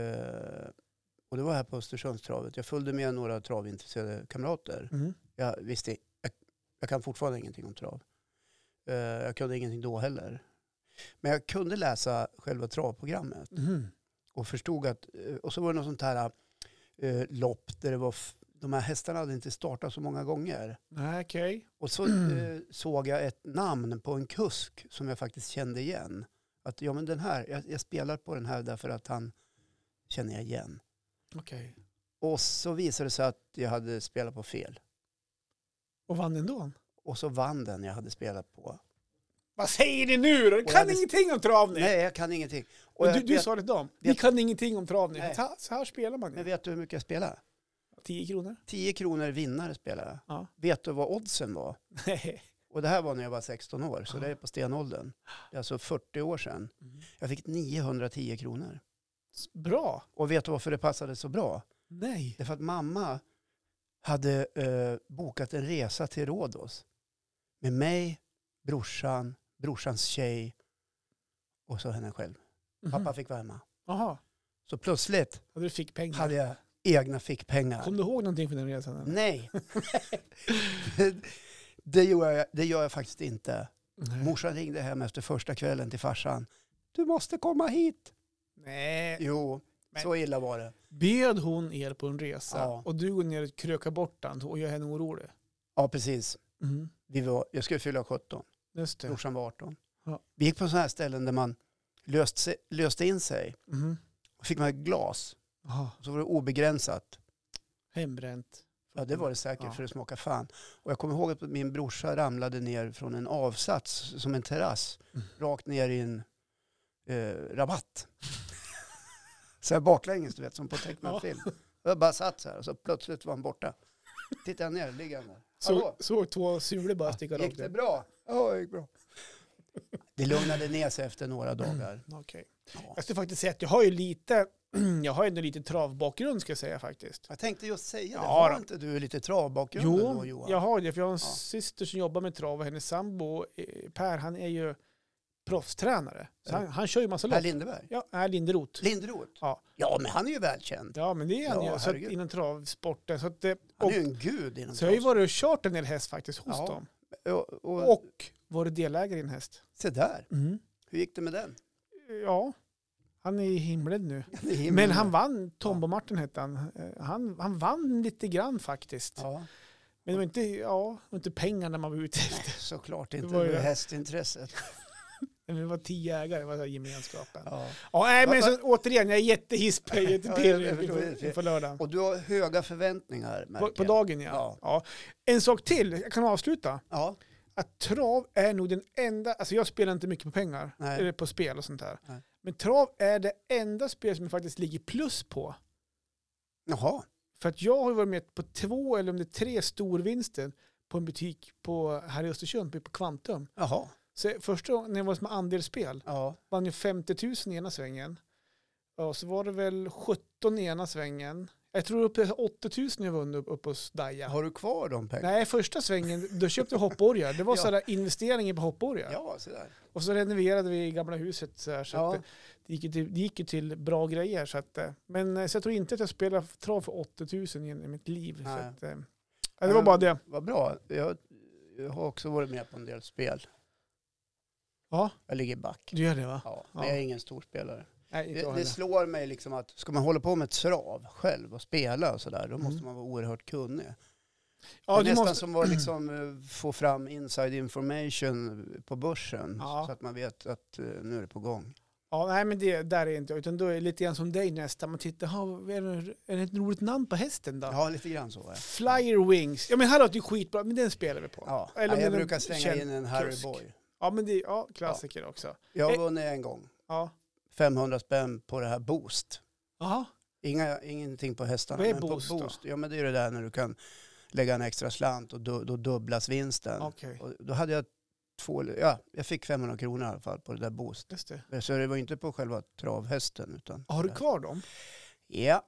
[SPEAKER 2] Eh, och det var här på Östersundstravet. Jag följde med några travintresserade kamrater.
[SPEAKER 1] Mm.
[SPEAKER 2] Jag visste, jag, jag kan fortfarande ingenting om trav. Eh, jag kunde ingenting då heller. Men jag kunde läsa själva travprogrammet
[SPEAKER 1] Mhm.
[SPEAKER 2] och förstod att, eh, och så var det något sånt här eh, lopp där det var, f- de här hästarna hade inte startat så många gånger.
[SPEAKER 1] Nej, okej.
[SPEAKER 2] Och så
[SPEAKER 1] Mm.
[SPEAKER 2] eh, såg jag ett namn på en kusk som jag faktiskt kände igen. Att ja, men den här, jag, jag spelar på den här därför att han känner jag igen.
[SPEAKER 1] Okej.
[SPEAKER 2] Och så visade det sig att jag hade spelat på fel.
[SPEAKER 1] Och vann ändå?
[SPEAKER 2] Och så vann den jag hade spelat på.
[SPEAKER 1] Vad säger ni nu då? Du
[SPEAKER 2] Och
[SPEAKER 1] kan
[SPEAKER 2] jag hade-
[SPEAKER 1] ingenting om trav ni!
[SPEAKER 2] Nej, jag kan ingenting. Och
[SPEAKER 1] Men
[SPEAKER 2] jag
[SPEAKER 1] du du
[SPEAKER 2] vet,
[SPEAKER 1] sa det till dem. Ni
[SPEAKER 2] vet-
[SPEAKER 1] kan ingenting om trav ni.
[SPEAKER 2] Nej.
[SPEAKER 1] Så- Så här spelar man
[SPEAKER 2] Men
[SPEAKER 1] ju.
[SPEAKER 2] vet du hur mycket jag spelade?
[SPEAKER 1] 10 kronor?
[SPEAKER 2] 10 kronor vinnare spelade jag.
[SPEAKER 1] Ja.
[SPEAKER 2] Vet du vad oddsen var?
[SPEAKER 1] Nej.
[SPEAKER 2] Och det här var när jag var 16 år, så
[SPEAKER 1] Ja. Mm.
[SPEAKER 2] det är på stenåldern. Det är alltså 40 år sedan. Jag fick 910 kronor.
[SPEAKER 1] Bra.
[SPEAKER 2] Och vet du varför det passade så bra?
[SPEAKER 1] Nej.
[SPEAKER 2] Därför att mamma hade eh, bokat en resa till Rhodos med mig, brorsan, brorsans tjej och så henne själv. Pappa fick vara hemma.
[SPEAKER 1] Jaha,
[SPEAKER 2] Så plötsligt
[SPEAKER 1] hade du fick pengar.
[SPEAKER 2] hade jag egna fickpengar.
[SPEAKER 1] Kom du ihåg någonting från den resan? eller?
[SPEAKER 2] Nej, det, gör jag, det gör jag faktiskt inte.
[SPEAKER 1] Nej.
[SPEAKER 2] Morsan ringde hem efter första kvällen till farsan. Du måste komma hit.
[SPEAKER 1] Nej.
[SPEAKER 2] Jo,
[SPEAKER 1] Men-
[SPEAKER 2] så illa var det.
[SPEAKER 1] Bjöd hon er på en resa
[SPEAKER 2] Ja.
[SPEAKER 1] och du går ner och krökar bort den och gör henne orolig?
[SPEAKER 2] Ja, precis. Vi var, jag skulle fylla 17,
[SPEAKER 1] Just det.
[SPEAKER 2] brorsan var 18.
[SPEAKER 1] Ja.
[SPEAKER 2] Vi gick på sådana här ställen där man löst, sig- löste in sig.
[SPEAKER 1] Mm.
[SPEAKER 2] Och fick man ett glas,
[SPEAKER 1] Jaha,
[SPEAKER 2] och så var det obegränsat.
[SPEAKER 1] hembränt.
[SPEAKER 2] Ja, det var det säkert,
[SPEAKER 1] Ja.
[SPEAKER 2] för det smakade fan. Och jag kommer ihåg att min brorsa ramlade ner från en avsats, som en terrass,
[SPEAKER 1] Mm.
[SPEAKER 2] rakt ner i en eh, rabatt. så här baklänges, du vet, som på tecknad
[SPEAKER 1] Ja.
[SPEAKER 2] film. Och jag bara satt så här, och så plötsligt var han borta. Tittade jag ner, ligger han där.
[SPEAKER 1] Så,
[SPEAKER 2] Hallå?
[SPEAKER 1] såg två sulor bara sticka
[SPEAKER 2] Gick
[SPEAKER 1] rakt
[SPEAKER 2] det
[SPEAKER 1] ut.
[SPEAKER 2] bra? Ja, det gick bra. Det lugnade ner sig efter några dagar.
[SPEAKER 1] Okej.
[SPEAKER 2] Ja.
[SPEAKER 1] Jag skulle faktiskt säga att jag har ju lite, jag har ändå lite travbakgrund ska jag säga faktiskt.
[SPEAKER 2] Jag tänkte just säga det,
[SPEAKER 1] Ja,
[SPEAKER 2] har
[SPEAKER 1] då.
[SPEAKER 2] inte du lite travbakgrund då Johan?
[SPEAKER 1] jag har det. För jag har en
[SPEAKER 2] Ja.
[SPEAKER 1] syster som jobbar med trav och hennes sambo eh, Per, han är ju proffstränare. Så
[SPEAKER 2] Ja.
[SPEAKER 1] han, han kör ju massa
[SPEAKER 2] Per
[SPEAKER 1] lopp.
[SPEAKER 2] Lindeberg?
[SPEAKER 1] Ja, är Linderoth.
[SPEAKER 2] Linderoth?
[SPEAKER 1] Ja.
[SPEAKER 2] ja, men han är ju välkänd.
[SPEAKER 1] Ja, men det är han
[SPEAKER 2] Ja,
[SPEAKER 1] ju. Så att,
[SPEAKER 2] herregud.
[SPEAKER 1] inom travsporten. Så, att, eh,
[SPEAKER 2] Han
[SPEAKER 1] och,
[SPEAKER 2] är ju en gud inom
[SPEAKER 1] så jag har ju
[SPEAKER 2] travsport.
[SPEAKER 1] varit och kört en del häst faktiskt hos
[SPEAKER 2] Ja.
[SPEAKER 1] dem.
[SPEAKER 2] Och, och,
[SPEAKER 1] Och varit delägare i en häst.
[SPEAKER 2] se där, hur gick det med den?
[SPEAKER 1] Ja, han är i himlen nu.
[SPEAKER 2] Det är himlen.
[SPEAKER 1] Men han vann, Tombo Martin hette han. Eh, han. Han vann lite grann faktiskt.
[SPEAKER 2] Ja,
[SPEAKER 1] Men det var inte, ja, det var inte pengarna man var ute efter.
[SPEAKER 2] såklart inte
[SPEAKER 1] Det var ju
[SPEAKER 2] med
[SPEAKER 1] det.
[SPEAKER 2] hästintresset.
[SPEAKER 1] Men Vi var tio ägare, det var så här gemenskapen.
[SPEAKER 2] Ja.
[SPEAKER 1] Ja, nej, men
[SPEAKER 2] Va-
[SPEAKER 1] så, återigen, jag är jättehispig
[SPEAKER 2] Ja, jag förstår det.
[SPEAKER 1] till på lördagen.
[SPEAKER 2] Och du har höga förväntningar
[SPEAKER 1] På,
[SPEAKER 2] märker
[SPEAKER 1] på
[SPEAKER 2] jag.
[SPEAKER 1] dagen ja.
[SPEAKER 2] Ja.
[SPEAKER 1] Ja. En sak till, jag kan avsluta.
[SPEAKER 2] Ja,
[SPEAKER 1] Att trav är nog den enda, alltså jag spelar inte mycket på pengar,
[SPEAKER 2] Nej.
[SPEAKER 1] eller på spel och sånt där.
[SPEAKER 2] Nej.
[SPEAKER 1] Men trav är det enda spel som jag faktiskt ligger plus på.
[SPEAKER 2] jaha.
[SPEAKER 1] För att jag har ju varit med på två eller om det är tre storvinster på en butik på, här i Östersund, på Kvantum.
[SPEAKER 2] Jaha.
[SPEAKER 1] Så första gången när jag var med andelsspel
[SPEAKER 2] Ja.
[SPEAKER 1] vann ju 50 000 i ena svängen. Och så var det väl 17 i ena svängen. Jag tror upp till 80 000 jag vann upp, upp hos Daja.
[SPEAKER 2] Har du kvar de pengarna?
[SPEAKER 1] Nej, första svängen, då köpte jag hoppborgar. Det var
[SPEAKER 2] Ja.
[SPEAKER 1] sådana investeringar på hoppborgar.
[SPEAKER 2] Ja, se där.
[SPEAKER 1] Och så renoverade vi gamla huset så här. Så
[SPEAKER 2] Ja.
[SPEAKER 1] att det, det, gick ju till, det gick ju till bra grejer. Så att, eh, men eh, så jag tror inte att jag spelar trav för 80 000 i i mitt liv. Så
[SPEAKER 2] Nej.
[SPEAKER 1] att, eh, ja, det var bara det.
[SPEAKER 2] Vad bra. Jag, jag har också varit med på en del spel.
[SPEAKER 1] Ja,
[SPEAKER 2] Jag ligger back.
[SPEAKER 1] du gör det va?
[SPEAKER 2] Ja, men
[SPEAKER 1] Ja.
[SPEAKER 2] jag är ingen storspelare.
[SPEAKER 1] Nej, inte jag
[SPEAKER 2] Det, det
[SPEAKER 1] heller.
[SPEAKER 2] slår mig liksom att ska man hålla på med ett trav själv och spela och sådär, då
[SPEAKER 1] Mm.
[SPEAKER 2] måste man vara oerhört kunnig.
[SPEAKER 1] Ja,
[SPEAKER 2] det
[SPEAKER 1] du
[SPEAKER 2] är nästan
[SPEAKER 1] måste-
[SPEAKER 2] som att liksom, eh, få fram inside information på börsen
[SPEAKER 1] Ja.
[SPEAKER 2] så att man vet att eh, nu är det på gång.
[SPEAKER 1] Ja, nej men det där är inte jag, utan då är det lite grann som dig nästa. Man tittar, ha, är, det, är det ett roligt namn på hästen då?
[SPEAKER 2] Ja, lite grann så. Ja.
[SPEAKER 1] Flyer Wings. Ja men hallå, det är skitbra, men den spelar vi på. Ja,
[SPEAKER 2] Ja.
[SPEAKER 1] Eller om
[SPEAKER 2] jag
[SPEAKER 1] det är
[SPEAKER 2] brukar
[SPEAKER 1] en
[SPEAKER 2] slänga
[SPEAKER 1] känd
[SPEAKER 2] in en Harry
[SPEAKER 1] kusk.
[SPEAKER 2] Boy.
[SPEAKER 1] men det, ja, klassiker också.
[SPEAKER 2] Jag har
[SPEAKER 1] Eh.
[SPEAKER 2] vunnit en gång,
[SPEAKER 1] Ja.
[SPEAKER 2] 500 spänn på det här Boost.
[SPEAKER 1] Jaha,
[SPEAKER 2] Inga, ingenting på hästarna.
[SPEAKER 1] Vad är
[SPEAKER 2] men
[SPEAKER 1] Boost
[SPEAKER 2] på
[SPEAKER 1] då?
[SPEAKER 2] Boost ja, men det är det där när du kan lägga en extra slant och du, då dubblas vinsten.
[SPEAKER 1] okej.
[SPEAKER 2] Och då hade jag två, ja, jag fick 500 kronor i alla fall på det där Boost.
[SPEAKER 1] Just det.
[SPEAKER 2] Så det var inte på själva travhästen utan...
[SPEAKER 1] Har du kvar dem?
[SPEAKER 2] Ja.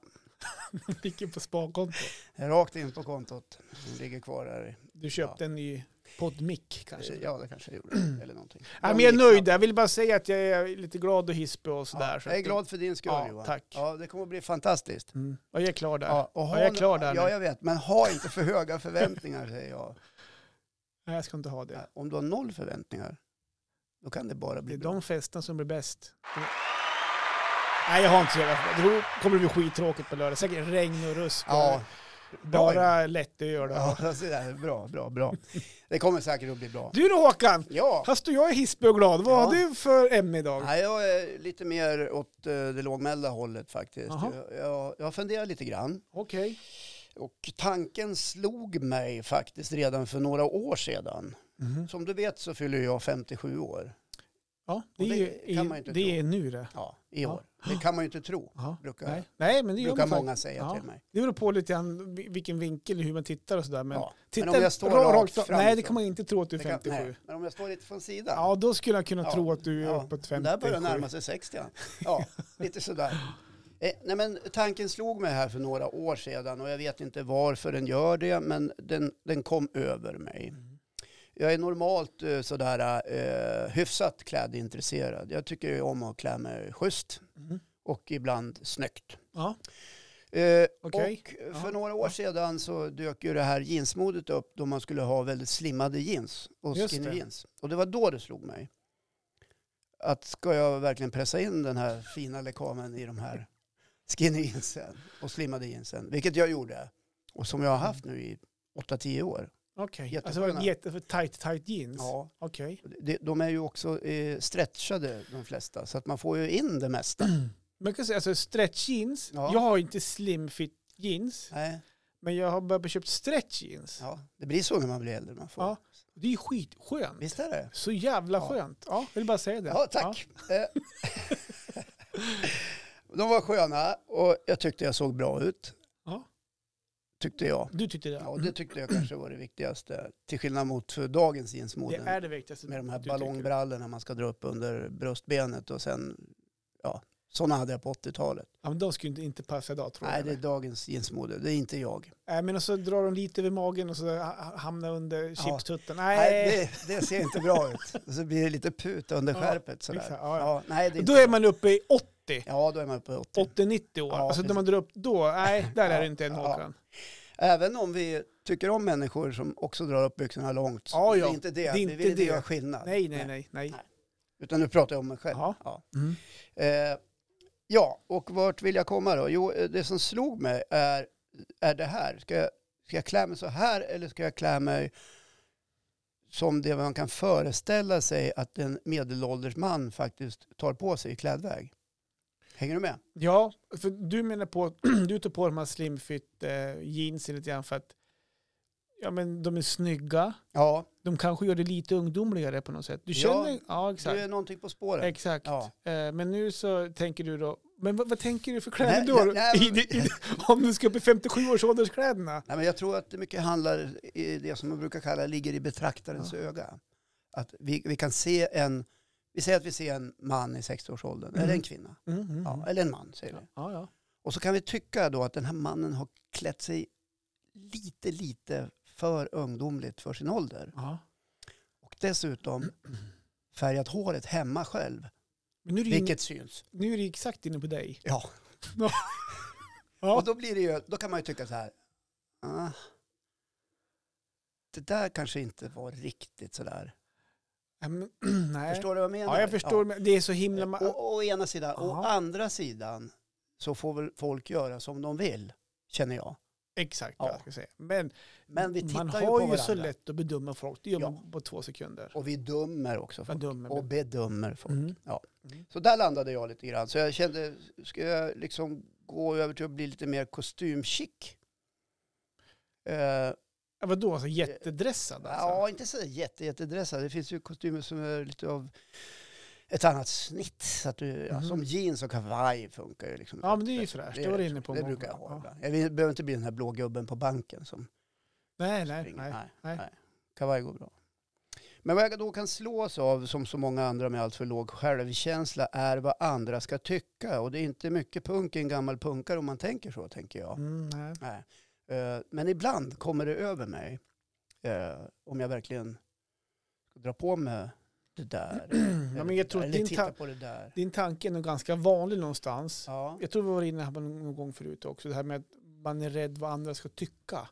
[SPEAKER 1] Vilken på sparkonto.
[SPEAKER 2] Rakt in på kontot. Den ligger kvar där. i-
[SPEAKER 1] Du köpte en ny poddmick kanske? Ja,
[SPEAKER 2] Ja, det kanske jag gjorde. Eller någonting.
[SPEAKER 1] men Mm. jag är nöjd, jag vill bara säga att jag är lite glad och hispig och
[SPEAKER 2] Ja,
[SPEAKER 1] sådär. så
[SPEAKER 2] jag är
[SPEAKER 1] att-
[SPEAKER 2] glad för din skull
[SPEAKER 1] Ja,
[SPEAKER 2] Johan.
[SPEAKER 1] tack.
[SPEAKER 2] Ja, det kommer att bli fantastiskt.
[SPEAKER 1] Mm. Ja, jag är klar där.
[SPEAKER 2] Ja, och
[SPEAKER 1] Ja, jag är klar där
[SPEAKER 2] Ja,
[SPEAKER 1] nu.
[SPEAKER 2] jag vet. Men ha inte för höga förväntningar, säger jag.
[SPEAKER 1] Nej, jag ska inte ha det.
[SPEAKER 2] Om du har noll förväntningar, då kan det bara
[SPEAKER 1] Det
[SPEAKER 2] bli
[SPEAKER 1] är
[SPEAKER 2] bra.
[SPEAKER 1] de festerna som blir bäst. Nej, jag har inte så jävla... Då kommer det bli skittråkigt på lördag. Säkert regn och rusk.
[SPEAKER 2] Ja,
[SPEAKER 1] och bara lättöl. och-
[SPEAKER 2] ja så där. bra, bra, bra. Det kommer säkert att bli bra.
[SPEAKER 1] Du då Håkan!
[SPEAKER 2] Ja,
[SPEAKER 1] Här står jag hispig och glad. Vad
[SPEAKER 2] Ja.
[SPEAKER 1] har du för ämne idag?
[SPEAKER 2] Nej, jag är lite mer åt eh, det lågmälda hållet faktiskt.
[SPEAKER 1] Jaha.
[SPEAKER 2] Jag, jag, jag funderar lite grann.
[SPEAKER 1] Okej.
[SPEAKER 2] Och tanken slog mig faktiskt redan för några år sedan. Som du vet så fyller jag 57 år.
[SPEAKER 1] Ja, det,
[SPEAKER 2] Och
[SPEAKER 1] är,
[SPEAKER 2] det
[SPEAKER 1] ju-
[SPEAKER 2] kan man ju inte tro.
[SPEAKER 1] det är nu det.
[SPEAKER 2] Ja, i
[SPEAKER 1] Ja.
[SPEAKER 2] år. Det kan man ju inte tro,
[SPEAKER 1] Ja.
[SPEAKER 2] brukar,
[SPEAKER 1] Nej. Nej, men det gör
[SPEAKER 2] brukar
[SPEAKER 1] man
[SPEAKER 2] många
[SPEAKER 1] faktiskt.
[SPEAKER 2] säga
[SPEAKER 1] Ja.
[SPEAKER 2] till mig.
[SPEAKER 1] Det beror på lite grann vi- vilken vinkel, hur man tittar och sådär. Men,
[SPEAKER 2] Ja.
[SPEAKER 1] titta,
[SPEAKER 2] Men om jag står
[SPEAKER 1] ra-
[SPEAKER 2] rakt
[SPEAKER 1] av-
[SPEAKER 2] framifrån.
[SPEAKER 1] Nej, det kan man inte tro att du är
[SPEAKER 2] Det kan,
[SPEAKER 1] 57.
[SPEAKER 2] nej. Men om jag står lite från sidan.
[SPEAKER 1] ja, då skulle jag kunna
[SPEAKER 2] Ja.
[SPEAKER 1] tro att du är
[SPEAKER 2] Ja.
[SPEAKER 1] uppåt
[SPEAKER 2] Den
[SPEAKER 1] 57.
[SPEAKER 2] där börjar närma sig 60. han. Ja, lite sådär. Eh, nej men tanken slog mig här för några år sedan och jag vet inte varför den gör det, men den, den kom över mig.
[SPEAKER 1] Mm.
[SPEAKER 2] Jag är normalt eh, sådär eh, hyfsat klädintresserad. Jag tycker ju om att klä mig schysst
[SPEAKER 1] Mm.
[SPEAKER 2] och ibland snyggt.
[SPEAKER 1] Ja.
[SPEAKER 2] Eh,
[SPEAKER 1] Okej.
[SPEAKER 2] Och
[SPEAKER 1] Ja.
[SPEAKER 2] för några år sedan så dök ju det här jeansmodet upp då man skulle ha väldigt slimmade jeans och
[SPEAKER 1] Just
[SPEAKER 2] skinny
[SPEAKER 1] det.
[SPEAKER 2] jeans. Och det var då det slog mig. Att ska jag verkligen pressa in den här fina lekamen i de här skinny jeansen och slimmade jeansen, vilket jag gjorde och som jag har haft nu i 8-10 år.
[SPEAKER 1] Okej,
[SPEAKER 2] Jättesköna.
[SPEAKER 1] alltså jätte, för tight, tight jeans.
[SPEAKER 2] Ja,
[SPEAKER 1] Okej.
[SPEAKER 2] de, de är ju också eh, stretchade de flesta, så att man får ju in det mesta.
[SPEAKER 1] Man kan säga alltså stretch jeans.
[SPEAKER 2] Ja.
[SPEAKER 1] Jag har ju inte slim fit jeans,
[SPEAKER 2] Nej,
[SPEAKER 1] men jag har börjat köpa stretch jeans.
[SPEAKER 2] ja, det blir så när man blir äldre. Man får.
[SPEAKER 1] Ja. Det är ju skitskönt.
[SPEAKER 2] Visst är det?
[SPEAKER 1] Så jävla
[SPEAKER 2] Ja.
[SPEAKER 1] skönt. Ja, jag vill bara säga det.
[SPEAKER 2] Ja, tack. Eh, de var sköna och jag tyckte jag såg bra ut.
[SPEAKER 1] Ja.
[SPEAKER 2] Tyckte jag.
[SPEAKER 1] Du tyckte det?
[SPEAKER 2] Ja, och det tyckte jag kanske var det viktigaste. Till skillnad mot för dagens
[SPEAKER 1] det
[SPEAKER 2] jeansmode.
[SPEAKER 1] är det viktigaste.
[SPEAKER 2] Med de här
[SPEAKER 1] du tycker.
[SPEAKER 2] ballongbrallorna man ska dra upp under bröstbenet och sen, ja, sådana hade jag på 80-talet.
[SPEAKER 1] Ja, men de skulle inte, inte passa idag tror
[SPEAKER 2] Nej,
[SPEAKER 1] jag.
[SPEAKER 2] det är
[SPEAKER 1] eller?
[SPEAKER 2] dagens jeansmode, det är inte jag.
[SPEAKER 1] Nej, Äh, men och så drar de lite över magen och så ha- ha- hamnar under chipstutten. Nej,
[SPEAKER 2] Nej, det, det ser inte bra ut. Och så blir det lite put under
[SPEAKER 1] Ja,
[SPEAKER 2] skärpet sådär.
[SPEAKER 1] exakt, ja, ja.
[SPEAKER 2] Ja, nej, det är
[SPEAKER 1] då
[SPEAKER 2] inte
[SPEAKER 1] är man uppe i 80,
[SPEAKER 2] Ja, då är man på 80.
[SPEAKER 1] 80-90 år.
[SPEAKER 2] Ja,
[SPEAKER 1] alltså när
[SPEAKER 2] precis.
[SPEAKER 1] man drar upp då, nej, där är
[SPEAKER 2] Ja,
[SPEAKER 1] det inte en
[SPEAKER 2] ja.
[SPEAKER 1] Håkan.
[SPEAKER 2] Även om vi tycker om människor som också drar upp byxorna långt.
[SPEAKER 1] Ja,
[SPEAKER 2] Det
[SPEAKER 1] ja.
[SPEAKER 2] är inte det.
[SPEAKER 1] är
[SPEAKER 2] vi
[SPEAKER 1] inte
[SPEAKER 2] vill inte
[SPEAKER 1] det.
[SPEAKER 2] göra skillnad.
[SPEAKER 1] Nej, nej, nej, nej.
[SPEAKER 2] Nej. Utan nu pratar jag om mig själv.
[SPEAKER 1] Ja.
[SPEAKER 2] Ja.
[SPEAKER 1] Mm.
[SPEAKER 2] Eh, ja, och vart vill jag komma då? Jo, eh, det som slog mig är, är det här. Ska jag, ska jag klä mig så här eller ska jag klä mig som det man kan föreställa sig att en medelålders man faktiskt tar på sig i klädväg? Hänger du med?
[SPEAKER 1] Ja, för du menar på att du tar på de här slimfit eh, jeansen lite grann för att ja, men de är snygga.
[SPEAKER 2] Ja,
[SPEAKER 1] De kanske gör det lite ungdomligare på något sätt. Du
[SPEAKER 2] Ja,
[SPEAKER 1] känner, ja,
[SPEAKER 2] du
[SPEAKER 1] exakt.
[SPEAKER 2] är någonting på spåren.
[SPEAKER 1] Exakt.
[SPEAKER 2] Ja.
[SPEAKER 1] Eh, Men nu så tänker du då, men vad, vad tänker du för
[SPEAKER 2] Nej,
[SPEAKER 1] kläder då?
[SPEAKER 2] nej, nej,
[SPEAKER 1] I, i, i, om du ska upp i 57-årsålderskläderna?
[SPEAKER 2] Nej, men jag tror att det mycket handlar i det som man brukar kalla ligger i betraktarens öga. Att vi, vi kan se en, vi säger att vi ser en man i 60-årsåldern, eller en
[SPEAKER 1] Mm.
[SPEAKER 2] kvinna,
[SPEAKER 1] Mm, mm,
[SPEAKER 2] ja, eller en man säger vi.
[SPEAKER 1] ja, ja.
[SPEAKER 2] Och så kan vi tycka då att den här mannen har klätt sig lite, lite för ungdomligt för sin ålder.
[SPEAKER 1] ja.
[SPEAKER 2] Och dessutom färgat håret hemma själv,
[SPEAKER 1] Men nu är, det ju
[SPEAKER 2] vilket syns.
[SPEAKER 1] in, nu är det ju exakt inne på dig.
[SPEAKER 2] Ja.
[SPEAKER 1] Ja.
[SPEAKER 2] Och då, blir det ju, då kan man ju tycka så här, ah, det där kanske inte var riktigt så där.
[SPEAKER 1] Ja, men, nej.
[SPEAKER 2] Förstår du vad jag menar?
[SPEAKER 1] ja, jag förstår. Men det är så himla...
[SPEAKER 2] Ja.
[SPEAKER 1] ma-
[SPEAKER 2] Och, å ena sidan. Å
[SPEAKER 1] Aha.
[SPEAKER 2] andra sidan så får väl folk göra som de vill, känner jag.
[SPEAKER 1] Exakt
[SPEAKER 2] Ja.
[SPEAKER 1] vad jag ska säga. Men,
[SPEAKER 2] Men vi
[SPEAKER 1] man
[SPEAKER 2] tittar ju på
[SPEAKER 1] har ju,
[SPEAKER 2] varandra.
[SPEAKER 1] så lätt att bedöma folk. Det gör
[SPEAKER 2] Ja.
[SPEAKER 1] man på två sekunder.
[SPEAKER 2] Och vi dömer också
[SPEAKER 1] Man
[SPEAKER 2] folk.
[SPEAKER 1] dömer.
[SPEAKER 2] Och bedömer folk.
[SPEAKER 1] Mm.
[SPEAKER 2] Ja.
[SPEAKER 1] Mm.
[SPEAKER 2] Så där landade jag lite grann. Så jag kände, ska jag liksom gå över till att bli lite mer kostymchic? Eh,
[SPEAKER 1] Ja, vadå, alltså jättedressad alltså?
[SPEAKER 2] Ja, inte så jätte, jättedressad. Det finns ju kostymer som är lite av ett annat snitt. Så att du, ja,
[SPEAKER 1] Mhm.
[SPEAKER 2] som jeans och kavaj funkar ju. Liksom.
[SPEAKER 1] Ja, men det är ju fräscht. Det var du inne på.
[SPEAKER 2] Det
[SPEAKER 1] många
[SPEAKER 2] brukar jag
[SPEAKER 1] gånger.
[SPEAKER 2] ha
[SPEAKER 1] Ja.
[SPEAKER 2] ibland. Jag vill- behöver inte bli den här blå gubben på banken som
[SPEAKER 1] Nej, nej,
[SPEAKER 2] springer.
[SPEAKER 1] nej.
[SPEAKER 2] nej. Kavaj går bra. Men vad jag då kan slås av, som så många andra med allt för låg självkänsla, är vad andra ska tycka. Och det är inte mycket punk i en gammal punkare om man tänker så, tänker jag.
[SPEAKER 1] Mm, nej.
[SPEAKER 2] Nej. Eh, Men ibland kommer det över mig eh, om jag verkligen ska dra på mig det där. eller
[SPEAKER 1] Ja, men jag
[SPEAKER 2] det
[SPEAKER 1] tror
[SPEAKER 2] där,
[SPEAKER 1] att
[SPEAKER 2] eller
[SPEAKER 1] din,
[SPEAKER 2] titta
[SPEAKER 1] ta-
[SPEAKER 2] på det där.
[SPEAKER 1] din tanke är nog ganska vanlig någonstans.
[SPEAKER 2] Ja.
[SPEAKER 1] Jag tror vi var inne på någon gång förut också, det här med att man är rädd vad andra ska tycka.
[SPEAKER 2] ja,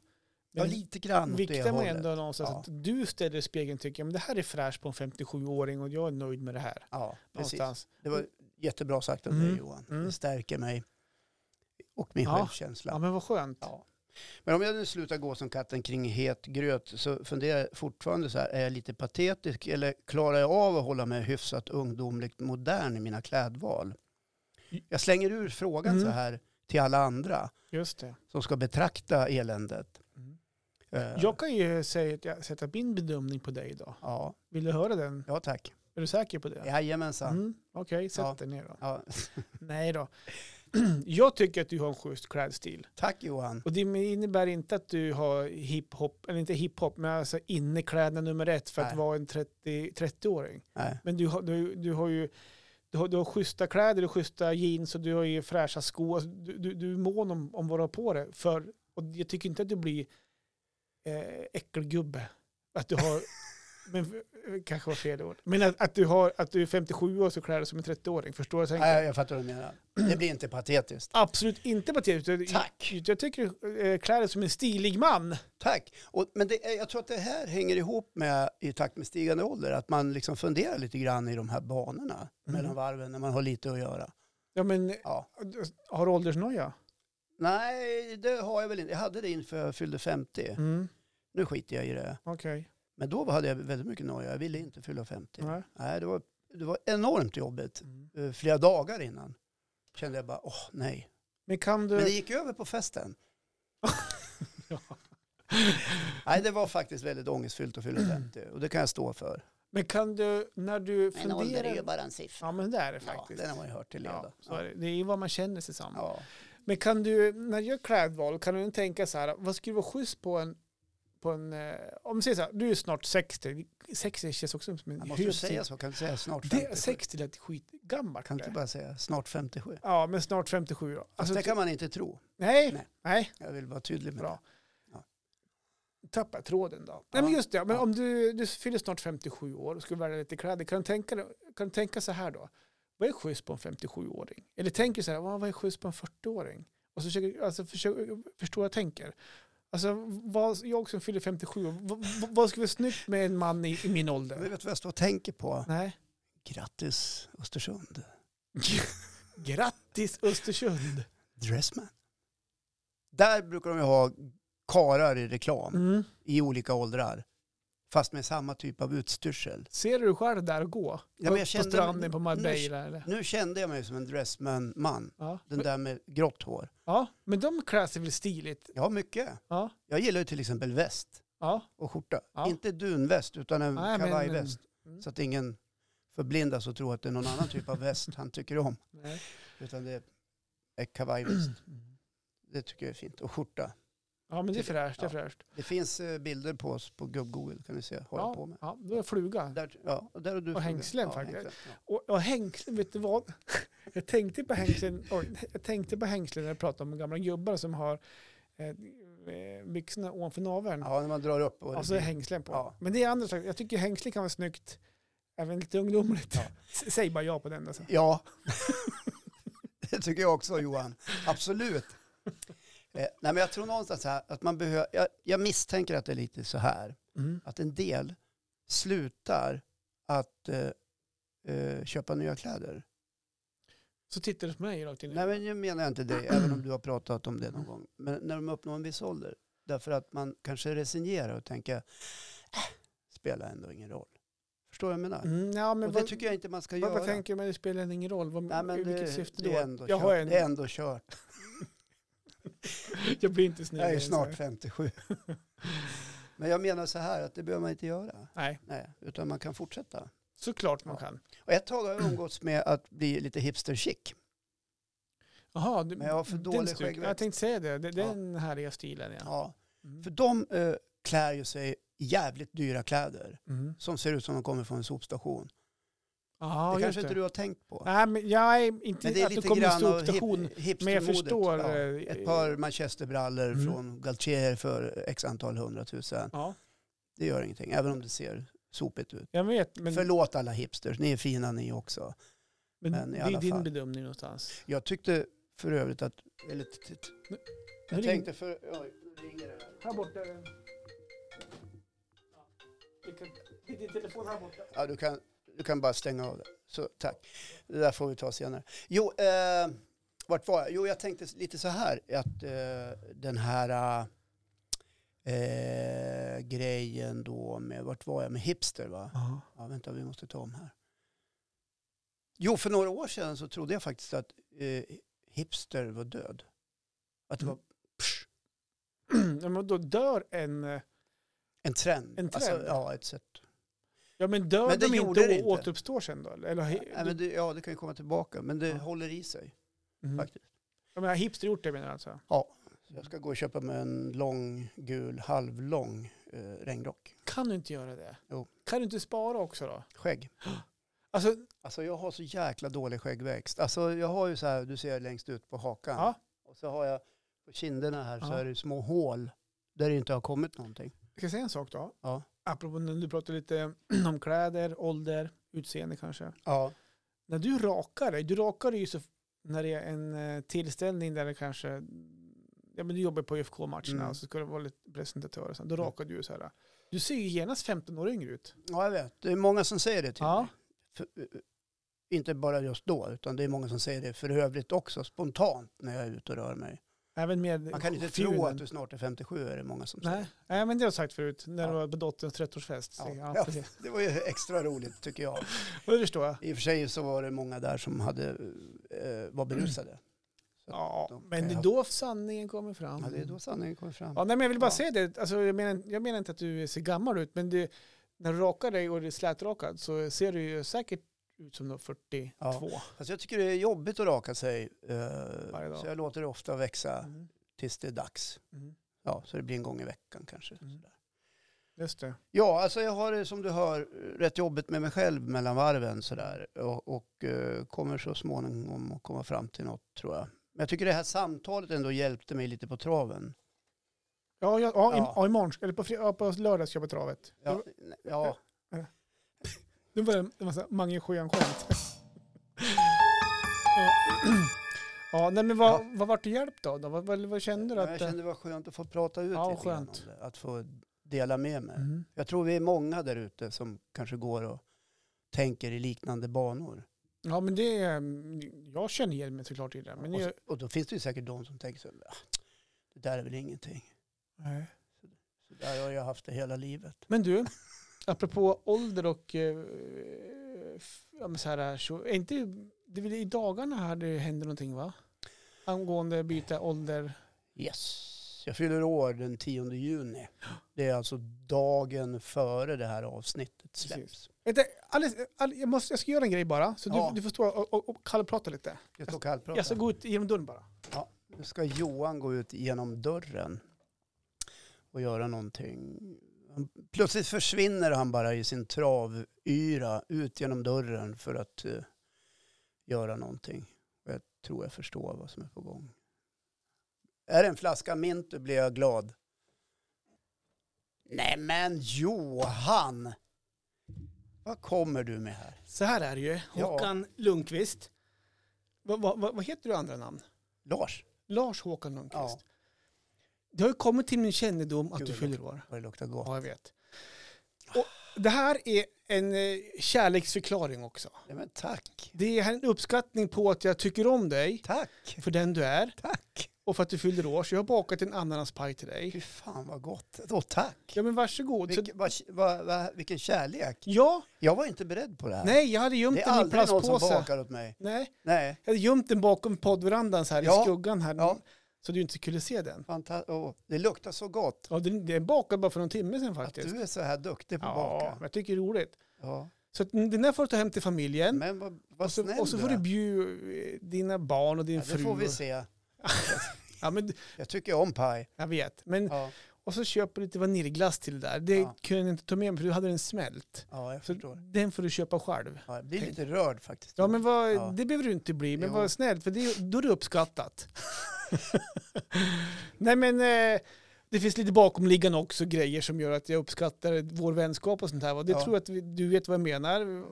[SPEAKER 1] Men
[SPEAKER 2] lite grann åt det
[SPEAKER 1] viktar man
[SPEAKER 2] hållet.
[SPEAKER 1] ändå någonstans
[SPEAKER 2] Ja.
[SPEAKER 1] att du ställer i spegeln och tycker men det här är fräscht på en 57-åring och jag är nöjd med det här.
[SPEAKER 2] Ja, precis.
[SPEAKER 1] Någonstans.
[SPEAKER 2] Det var jättebra sagt av
[SPEAKER 1] Mm.
[SPEAKER 2] dig Johan.
[SPEAKER 1] Mm.
[SPEAKER 2] Det stärker mig och min
[SPEAKER 1] Ja. Ja
[SPEAKER 2] självkänsla.
[SPEAKER 1] men vad skönt.
[SPEAKER 2] Ja. Men om jag nu slutar gå som katten kring het gröt så funderar jag fortfarande så här, är jag lite patetisk eller klarar jag av att hålla mig hyfsat ungdomligt modern i mina klädval? Jag slänger ur frågan
[SPEAKER 1] Mm.
[SPEAKER 2] så här till alla andra
[SPEAKER 1] Just det.
[SPEAKER 2] som ska betrakta eländet.
[SPEAKER 1] Mm.
[SPEAKER 2] Eh,
[SPEAKER 1] Jag kan ju säga att jag sätter min bedömning på dig idag.
[SPEAKER 2] Ja,
[SPEAKER 1] Vill du höra den?
[SPEAKER 2] ja tack.
[SPEAKER 1] Är du säker på det?
[SPEAKER 2] Jajamensan.
[SPEAKER 1] Mm, Okej, sätt
[SPEAKER 2] Ja.
[SPEAKER 1] dig ner då.
[SPEAKER 2] Ja,
[SPEAKER 1] Nej då. Jag tycker att du har en schysst klädstil.
[SPEAKER 2] tack Johan.
[SPEAKER 1] Och det innebär inte att du har hiphop, eller inte hiphop, men alltså inneklädnad nummer ett för att
[SPEAKER 2] Nej.
[SPEAKER 1] vara en 30, 30-åring.
[SPEAKER 2] Nej.
[SPEAKER 1] Men du har, du, du har ju du har, du har schyssta kläder, du har schyssta jeans och du har ju fräscha skor. Alltså, Du, du, du är mån om, om vad du har på dig. För, och jag tycker inte att du blir eh, äckelgubbe. Att du har, men eh, kanske var fel ord. Men att, att, du har, att du är 57 år och så klär dig som en 30-åring. Förstår du? vad jag tänker?
[SPEAKER 2] Nej, jag fattar vad du menar. Det blir inte patetiskt.
[SPEAKER 1] Absolut inte patetiskt. Jag-
[SPEAKER 2] Tack.
[SPEAKER 1] Jag, jag tycker du eh, klär dig som en stilig man.
[SPEAKER 2] Tack. Och, men det, är- jag tror att det här hänger ihop med i takt med stigande ålder, att man liksom funderar lite grann i de här banorna
[SPEAKER 1] Mm.
[SPEAKER 2] mellan varven när man har lite att göra.
[SPEAKER 1] Ja, men,
[SPEAKER 2] Ja.
[SPEAKER 1] Har du åldersnoja?
[SPEAKER 2] Nej, det har jag väl inte. Jag hade det inför jag fyllde 50.
[SPEAKER 1] Mm.
[SPEAKER 2] nu skiter jag i det.
[SPEAKER 1] Okej.
[SPEAKER 2] Men då hade jag väldigt mycket noja. Jag ville inte fylla 50.
[SPEAKER 1] Nej.
[SPEAKER 2] Nej, det, var, det var enormt jobbigt.
[SPEAKER 1] Mm.
[SPEAKER 2] Eh, Flera dagar innan kände jag bara, åh nej.
[SPEAKER 1] Men kan du...
[SPEAKER 2] Men det gick över på festen.
[SPEAKER 1] Ja.
[SPEAKER 2] Nej, det var faktiskt väldigt ångestfyllt att fylla 50. Och det kan jag stå för.
[SPEAKER 1] Men kan du, när du
[SPEAKER 2] Men ålder är ju
[SPEAKER 1] funderar...
[SPEAKER 2] bara en siffra.
[SPEAKER 1] Ja, men det är det
[SPEAKER 2] Ja,
[SPEAKER 1] faktiskt.
[SPEAKER 2] den har man ju hört till leda.
[SPEAKER 1] Ja, så är det. det är ju vad man känner sig som.
[SPEAKER 2] Ja.
[SPEAKER 1] Men kan du, när du gör klädval, kan du tänka så här, vad skulle vara schysst på en, på en eh, om vi säger så här, du är snart 60, 60 känns också som en
[SPEAKER 2] Man måste ju
[SPEAKER 1] hög
[SPEAKER 2] säga
[SPEAKER 1] tid.
[SPEAKER 2] så, kan du säga snart 57?
[SPEAKER 1] det, 60 lät skitgammalt.
[SPEAKER 2] Kan du inte
[SPEAKER 1] det.
[SPEAKER 2] bara säga snart 57?
[SPEAKER 1] Ja, men snart 57 då.
[SPEAKER 2] Fast
[SPEAKER 1] Alltså,
[SPEAKER 2] det kan man inte tro.
[SPEAKER 1] nej, nej,
[SPEAKER 2] Nej. Jag vill vara tydlig med
[SPEAKER 1] bra.
[SPEAKER 2] Ja.
[SPEAKER 1] Tappar jag tråden då.
[SPEAKER 2] Ja,
[SPEAKER 1] Nej men just det, men
[SPEAKER 2] ja.
[SPEAKER 1] om du, du fyller snart 57 år och skulle välja lite kläder, kan du tänka, dig- kan du tänka så här då? Vad är schysst på en 57-åring? Eller tänker du så här, "Vad- vad är schysst på en 40-åring? Och så försöker, alltså, försöker förstå vad jag tänker. Alltså, vad, jag som fyller 57 år, vad, vad- vad skulle vara snyggt med en man i, i min
[SPEAKER 2] det. Men
[SPEAKER 1] ålder?
[SPEAKER 2] vet du vad jag står och tänker på?
[SPEAKER 1] Nej.
[SPEAKER 2] Grattis Östersund.
[SPEAKER 1] Grattis Östersund!
[SPEAKER 2] Dressman. Där brukar de ju ha karar i reklam
[SPEAKER 1] Mm.
[SPEAKER 2] i olika åldrar. Fast med samma typ av utstyrsel.
[SPEAKER 1] Ser du dig själv där gå?
[SPEAKER 2] men jag
[SPEAKER 1] på,
[SPEAKER 2] kände-
[SPEAKER 1] på stranden på
[SPEAKER 2] nu-
[SPEAKER 1] Marbella eller?
[SPEAKER 2] Nu kände jag mig som en dressman-man.
[SPEAKER 1] Ja.
[SPEAKER 2] Den där med grått hår.
[SPEAKER 1] ja, men de klär sig väl stiligt?
[SPEAKER 2] Ja, mycket.
[SPEAKER 1] Ja,
[SPEAKER 2] Jag gillar ju till exempel väst
[SPEAKER 1] ja.
[SPEAKER 2] och skjorta.
[SPEAKER 1] Ja.
[SPEAKER 2] Inte dunväst utan en
[SPEAKER 1] Nej, men-
[SPEAKER 2] kavajväst.
[SPEAKER 1] men-
[SPEAKER 2] Så att ingen förblindas och tror att det är någon annan typ av väst han tycker om.
[SPEAKER 1] Nej.
[SPEAKER 2] Utan det är kavajväst. Det tycker jag är fint. Och skjorta.
[SPEAKER 1] Ja, men det är fräscht. Det är
[SPEAKER 2] Ja.
[SPEAKER 1] fräscht.
[SPEAKER 2] Det finns eh, bilder på oss på gubb-google kan ni se. Har jag på
[SPEAKER 1] Ja,
[SPEAKER 2] mig.
[SPEAKER 1] ja, då är jag fluga.
[SPEAKER 2] Där, ja, och där har du
[SPEAKER 1] Och
[SPEAKER 2] frågat.
[SPEAKER 1] hängslen faktiskt.
[SPEAKER 2] hängslen. Ja.
[SPEAKER 1] Och, och hängslen, vet du vad? Jag tänkte på hängslen, oj, jag tänkte på hängslen när jag pratade om gamla gubbar som har eh, eh, byxorna ovanför naveln.
[SPEAKER 2] Ja, när man drar upp. Och det
[SPEAKER 1] och så är
[SPEAKER 2] blir-
[SPEAKER 1] hängslen på.
[SPEAKER 2] Ja.
[SPEAKER 1] Men det är andra saker. Jag tycker hängslen kan vara snyggt, även lite ungdomligt.
[SPEAKER 2] Ja.
[SPEAKER 1] S- Säg bara ja på den. Alltså.
[SPEAKER 2] Ja, det tycker jag också Johan. Absolut. Eh, nej, men jag tror någonstans här att man behöver, jag, jag misstänker att det är lite så här,
[SPEAKER 1] Mm.
[SPEAKER 2] att en del slutar att eh, eh, köpa nya kläder.
[SPEAKER 1] Så tittar du på mig rakt in i
[SPEAKER 2] Nej, men nu menar jag inte det, även om du har pratat om det någon gång. Men när de uppnår en viss ålder. Därför att man kanske resignerar och tänker, äh, spelar ändå ingen roll. Förstår du vad jag menar?
[SPEAKER 1] Mm, ja, men
[SPEAKER 2] och det
[SPEAKER 1] vad,
[SPEAKER 2] tycker jag inte man ska
[SPEAKER 1] vad,
[SPEAKER 2] göra.
[SPEAKER 1] vad tänker du? Men det spelar ingen roll. Vad,
[SPEAKER 2] Nej, men
[SPEAKER 1] i vilket
[SPEAKER 2] det,
[SPEAKER 1] syfte
[SPEAKER 2] det,
[SPEAKER 1] då?
[SPEAKER 2] är ändå
[SPEAKER 1] jag,
[SPEAKER 2] kört.
[SPEAKER 1] har en,
[SPEAKER 2] det är ändå kört.
[SPEAKER 1] jag blir inte snygg.
[SPEAKER 2] Jag är
[SPEAKER 1] än
[SPEAKER 2] ju
[SPEAKER 1] så
[SPEAKER 2] snart
[SPEAKER 1] här.
[SPEAKER 2] 57. men jag menar så här, att det behöver man inte göra.
[SPEAKER 1] Nej,
[SPEAKER 2] Nej, utan man kan fortsätta.
[SPEAKER 1] såklart man
[SPEAKER 2] Ja.
[SPEAKER 1] kan.
[SPEAKER 2] Och ett tag har jag umgåtts med att bli lite hipster chic.
[SPEAKER 1] Jaha, du,
[SPEAKER 2] Men jag har för
[SPEAKER 1] den
[SPEAKER 2] dålig
[SPEAKER 1] styrkan.
[SPEAKER 2] skäggväxt.
[SPEAKER 1] Jag tänkte säga det, det det är den härliga stilen. Ja.
[SPEAKER 2] Ja.
[SPEAKER 1] Mm.
[SPEAKER 2] För de eh, klär ju sig i jävligt dyra kläder.
[SPEAKER 1] Mm.
[SPEAKER 2] Som ser ut som de kommer från en sopstation.
[SPEAKER 1] Ja,
[SPEAKER 2] det
[SPEAKER 1] just
[SPEAKER 2] kanske inte du har tänkt på.
[SPEAKER 1] Nej, men jag är inte
[SPEAKER 2] Men det är
[SPEAKER 1] att du
[SPEAKER 2] lite
[SPEAKER 1] kommer
[SPEAKER 2] grann
[SPEAKER 1] till
[SPEAKER 2] av
[SPEAKER 1] sopstation.
[SPEAKER 2] hip, hipstermodet.
[SPEAKER 1] Men jag förstår.
[SPEAKER 2] Ja.
[SPEAKER 1] eh,
[SPEAKER 2] Ett par manchesterbrallor
[SPEAKER 1] Mm.
[SPEAKER 2] från Galtier för x antal hundratusen.
[SPEAKER 1] Ja,
[SPEAKER 2] Det gör ingenting, även om det ser sopigt ut.
[SPEAKER 1] jag vet, men,
[SPEAKER 2] Förlåt alla hipsters, ni är fina ni också.
[SPEAKER 1] men,
[SPEAKER 2] men i
[SPEAKER 1] det är
[SPEAKER 2] alla
[SPEAKER 1] din
[SPEAKER 2] fall.
[SPEAKER 1] bedömning någonstans.
[SPEAKER 2] Jag tyckte för övrigt att... Eller, t- t-
[SPEAKER 1] Nu
[SPEAKER 2] jag
[SPEAKER 1] ring-
[SPEAKER 2] tänkte för... Oj, nu ringer det här.
[SPEAKER 1] Här borta. är den. Ja. Du kan- det är Din telefon här borta.
[SPEAKER 2] Ja, du kan, du kan bara stänga av det. Så, tack. Det där får vi ta senare. Jo, eh, vart var jag? Jo, jag tänkte lite så här att eh, den här eh, grejen då med, vart var jag? Med hipster va?
[SPEAKER 1] Ja.
[SPEAKER 2] Ja, vänta, vi måste ta om här. Jo, för några år sedan så trodde jag faktiskt att eh, hipster var död. Att det var
[SPEAKER 1] men då dör en... eh,
[SPEAKER 2] en trend.
[SPEAKER 1] En trend?
[SPEAKER 2] Alltså, ja, ett sätt.
[SPEAKER 1] Ja, men dör
[SPEAKER 2] Men det
[SPEAKER 1] de
[SPEAKER 2] gjorde
[SPEAKER 1] inte och
[SPEAKER 2] det inte.
[SPEAKER 1] återuppstår sen då? Eller, eller,
[SPEAKER 2] Nej, men det, ja, det kan ju komma tillbaka, men det
[SPEAKER 1] Ja.
[SPEAKER 2] håller i sig
[SPEAKER 1] mm.
[SPEAKER 2] faktiskt.
[SPEAKER 1] ja, men hipster gjort det menar du alltså?
[SPEAKER 2] Så jag ska gå och köpa mig en lång, gul, halvlång eh, regnrock.
[SPEAKER 1] Kan du inte göra det?
[SPEAKER 2] Jo.
[SPEAKER 1] Kan du inte spara också då?
[SPEAKER 2] Skägg.
[SPEAKER 1] Alltså,
[SPEAKER 2] Alltså jag har så jäkla dålig skäggväxt. Alltså jag har ju så här, du ser längst ut på hakan.
[SPEAKER 1] Ja.
[SPEAKER 2] Och så har jag på kinderna här så
[SPEAKER 1] Ja.
[SPEAKER 2] är det små hål där det inte har kommit någonting.
[SPEAKER 1] Ska jag säga en sak då?
[SPEAKER 2] Ja.
[SPEAKER 1] Apropå när du pratade lite om kläder, ålder, utseende kanske.
[SPEAKER 2] Ja.
[SPEAKER 1] När du rakar dig, du rakar dig ju så när det är en eh, tillställning där det kanske, ja men du jobbar på IFK-matcherna
[SPEAKER 2] Mm.
[SPEAKER 1] och så ska du vara lite presentatör och så, då rakar du ju så här. Du ser ju genast 15 år yngre ut.
[SPEAKER 2] ja, jag vet. Det är många som säger det till
[SPEAKER 1] Ja.
[SPEAKER 2] mig. För, eh, inte bara just då, utan det är många som säger det för övrigt också, spontant när jag är ute och rör mig.
[SPEAKER 1] Även med
[SPEAKER 2] Man kan inte tro
[SPEAKER 1] fjunen.
[SPEAKER 2] att du snart är 57, är det många som säger.
[SPEAKER 1] Nej, nej, men det har jag sagt förut, när
[SPEAKER 2] Ja.
[SPEAKER 1] det var på dotterns 30-årsfest. Så,
[SPEAKER 2] Ja.
[SPEAKER 1] Ja.
[SPEAKER 2] Ja.
[SPEAKER 1] precis.
[SPEAKER 2] Det var ju extra roligt tycker jag.
[SPEAKER 1] Och det förstår jag.
[SPEAKER 2] I och för sig så var det många där som hade, eh, var berusade.
[SPEAKER 1] Ja,
[SPEAKER 2] de
[SPEAKER 1] men
[SPEAKER 2] kan
[SPEAKER 1] det är
[SPEAKER 2] ha-
[SPEAKER 1] då sanningen kommer fram.
[SPEAKER 2] Ja, det är då sanningen kommer fram.
[SPEAKER 1] Ja, nej, men jag vill bara
[SPEAKER 2] Ja.
[SPEAKER 1] säga det, alltså, jag, menar, jag menar inte att du ser gammal ut, men det, när du rakar dig och du är slätrakad så ser du ju säkert ut som någon 42.
[SPEAKER 2] Fast jag tycker det är jobbigt att raka sig. eh,
[SPEAKER 1] Varje dag.
[SPEAKER 2] så jag låter det ofta växa
[SPEAKER 1] Mm.
[SPEAKER 2] tills det är dags.
[SPEAKER 1] Mm.
[SPEAKER 2] Ja, så det blir en gång i veckan kanske.
[SPEAKER 1] Mm.
[SPEAKER 2] Sådär.
[SPEAKER 1] Just det.
[SPEAKER 2] Ja, alltså jag har det som du hör rätt jobbigt med mig själv mellan varven sådär. Och, och eh, kommer så småningom att komma fram till något tror jag. Men jag tycker det här samtalet ändå hjälpte mig lite på traven.
[SPEAKER 1] Ja, ja, ja,
[SPEAKER 2] Ja.
[SPEAKER 1] I, ja imorgon, eller på, fri- ja, på lördag ska jag på travet.
[SPEAKER 2] Ja, ja.
[SPEAKER 1] Nu var det en massa Mange Sjöan-skämt. ja. ja, nej men vad, vad vart du hjälpt av då? Vad, vad, vad kände du
[SPEAKER 2] Men
[SPEAKER 1] att... eh,
[SPEAKER 2] jag kände det var skönt att få prata ut
[SPEAKER 1] Ja,
[SPEAKER 2] lite grann
[SPEAKER 1] skönt.
[SPEAKER 2] om det. Att få dela med mig.
[SPEAKER 1] Mm.
[SPEAKER 2] Jag tror vi är många där ute som kanske går och tänker i liknande banor.
[SPEAKER 1] Ja, men det... är, mm, Jag känner igen mig såklart i det. Men
[SPEAKER 2] och,
[SPEAKER 1] jag,
[SPEAKER 2] och då finns det ju säkert de som tänker så här, "Ah, det där är väl ingenting.
[SPEAKER 1] nej.
[SPEAKER 2] Så där har jag haft det hela livet.
[SPEAKER 1] men du, apropå ålder och... eh, f- Ja, men så här, så, är inte, det är väl i dagarna här det händer någonting va? Angående byta ålder.
[SPEAKER 2] Yes. Jag fyller år den 10 juni. Det är alltså dagen före det här avsnittet släpps.
[SPEAKER 1] Precis. Vänta, Alice, Alice, jag, måste, jag ska göra en grej bara. Så
[SPEAKER 2] Ja.
[SPEAKER 1] du, du får stå och, och, och kallprata lite.
[SPEAKER 2] Jag ska kallprata.
[SPEAKER 1] Jag ska gå ut genom dörren bara.
[SPEAKER 2] Nu ska Johan gå ut genom dörren och göra någonting. Han- Plötsligt försvinner han bara i sin travyra ut genom dörren för att eh, göra någonting. Och jag tror jag förstår vad som är på gång. Är det en flaska mint då blir jag glad. Nej men Johan! Vad kommer du med här?
[SPEAKER 1] Så här är det ju.
[SPEAKER 2] Ja.
[SPEAKER 1] Håkan Lundqvist. Vad vad- vad- vad heter du i andra namn?
[SPEAKER 2] Lars,
[SPEAKER 1] Lars Håkan Lundqvist.
[SPEAKER 2] Ja.
[SPEAKER 1] Det har ju kommit till min kännedom att
[SPEAKER 2] Gud,
[SPEAKER 1] du
[SPEAKER 2] vad
[SPEAKER 1] fyller år.
[SPEAKER 2] vad det luktar gott.
[SPEAKER 1] Ja, jag vet. Och det här är en eh, kärleksförklaring också.
[SPEAKER 2] Nej, men tack.
[SPEAKER 1] Det är en uppskattning på att jag tycker om dig,
[SPEAKER 2] Tack.
[SPEAKER 1] för den du är,
[SPEAKER 2] Tack.
[SPEAKER 1] och för att du fyller år. Så jag har bakat en ananaspaj till dig.
[SPEAKER 2] Fy fan vad gott. Åh tack.
[SPEAKER 1] Ja, men varsågod. Så,
[SPEAKER 2] Vilken, vad, vad, vad, vilken kärlek.
[SPEAKER 1] ja,
[SPEAKER 2] Jag var inte beredd på det här.
[SPEAKER 1] nej, jag hade gömt
[SPEAKER 2] det är
[SPEAKER 1] den i en
[SPEAKER 2] aldrig någon som
[SPEAKER 1] plastpåse.
[SPEAKER 2] bakar åt mig.
[SPEAKER 1] Nej,
[SPEAKER 2] Nej,
[SPEAKER 1] jag hade gömt den bakom poddverandan så här
[SPEAKER 2] Ja.
[SPEAKER 1] i skuggan här.
[SPEAKER 2] Ja.
[SPEAKER 1] Så du inte skulle se den.
[SPEAKER 2] fanta- åh, det luktar så gott.
[SPEAKER 1] Ja, den, den bakade bara för någon timme sedan
[SPEAKER 2] Att
[SPEAKER 1] faktiskt.
[SPEAKER 2] du är så här duktig på att
[SPEAKER 1] Ja,
[SPEAKER 2] baka.
[SPEAKER 1] men jag tycker det är roligt.
[SPEAKER 2] Ja.
[SPEAKER 1] Så att den där får du ta hem till familjen.
[SPEAKER 2] Men vad, vad
[SPEAKER 1] och, så,
[SPEAKER 2] snäll
[SPEAKER 1] och så får
[SPEAKER 2] du
[SPEAKER 1] du
[SPEAKER 2] är.
[SPEAKER 1] bjuda eh, dina barn och din
[SPEAKER 2] ja,
[SPEAKER 1] fru.
[SPEAKER 2] Det får vi
[SPEAKER 1] och-
[SPEAKER 2] se.
[SPEAKER 1] Ja, men,
[SPEAKER 2] Jag tycker om paj.
[SPEAKER 1] jag vet. Men,
[SPEAKER 2] Ja,
[SPEAKER 1] Och så köper du lite vaniljglass till det där. Det
[SPEAKER 2] Ja.
[SPEAKER 1] kunde jag inte ta med mig för du hade den smält.
[SPEAKER 2] ja jag
[SPEAKER 1] Så
[SPEAKER 2] förstår.
[SPEAKER 1] den får du köpa själv.
[SPEAKER 2] Ja, jag blir lite rörd faktiskt.
[SPEAKER 1] Ja, men vad,
[SPEAKER 2] Ja.
[SPEAKER 1] det behöver du inte bli. Men
[SPEAKER 2] Jo.
[SPEAKER 1] var snäll, för det, då är det uppskattat. Nej, men eh, det finns lite bakomliggande också grejer som gör att jag uppskattar vår vänskap och sånt här. Och det
[SPEAKER 2] Ja.
[SPEAKER 1] tror jag att vi, du vet vad jag menar.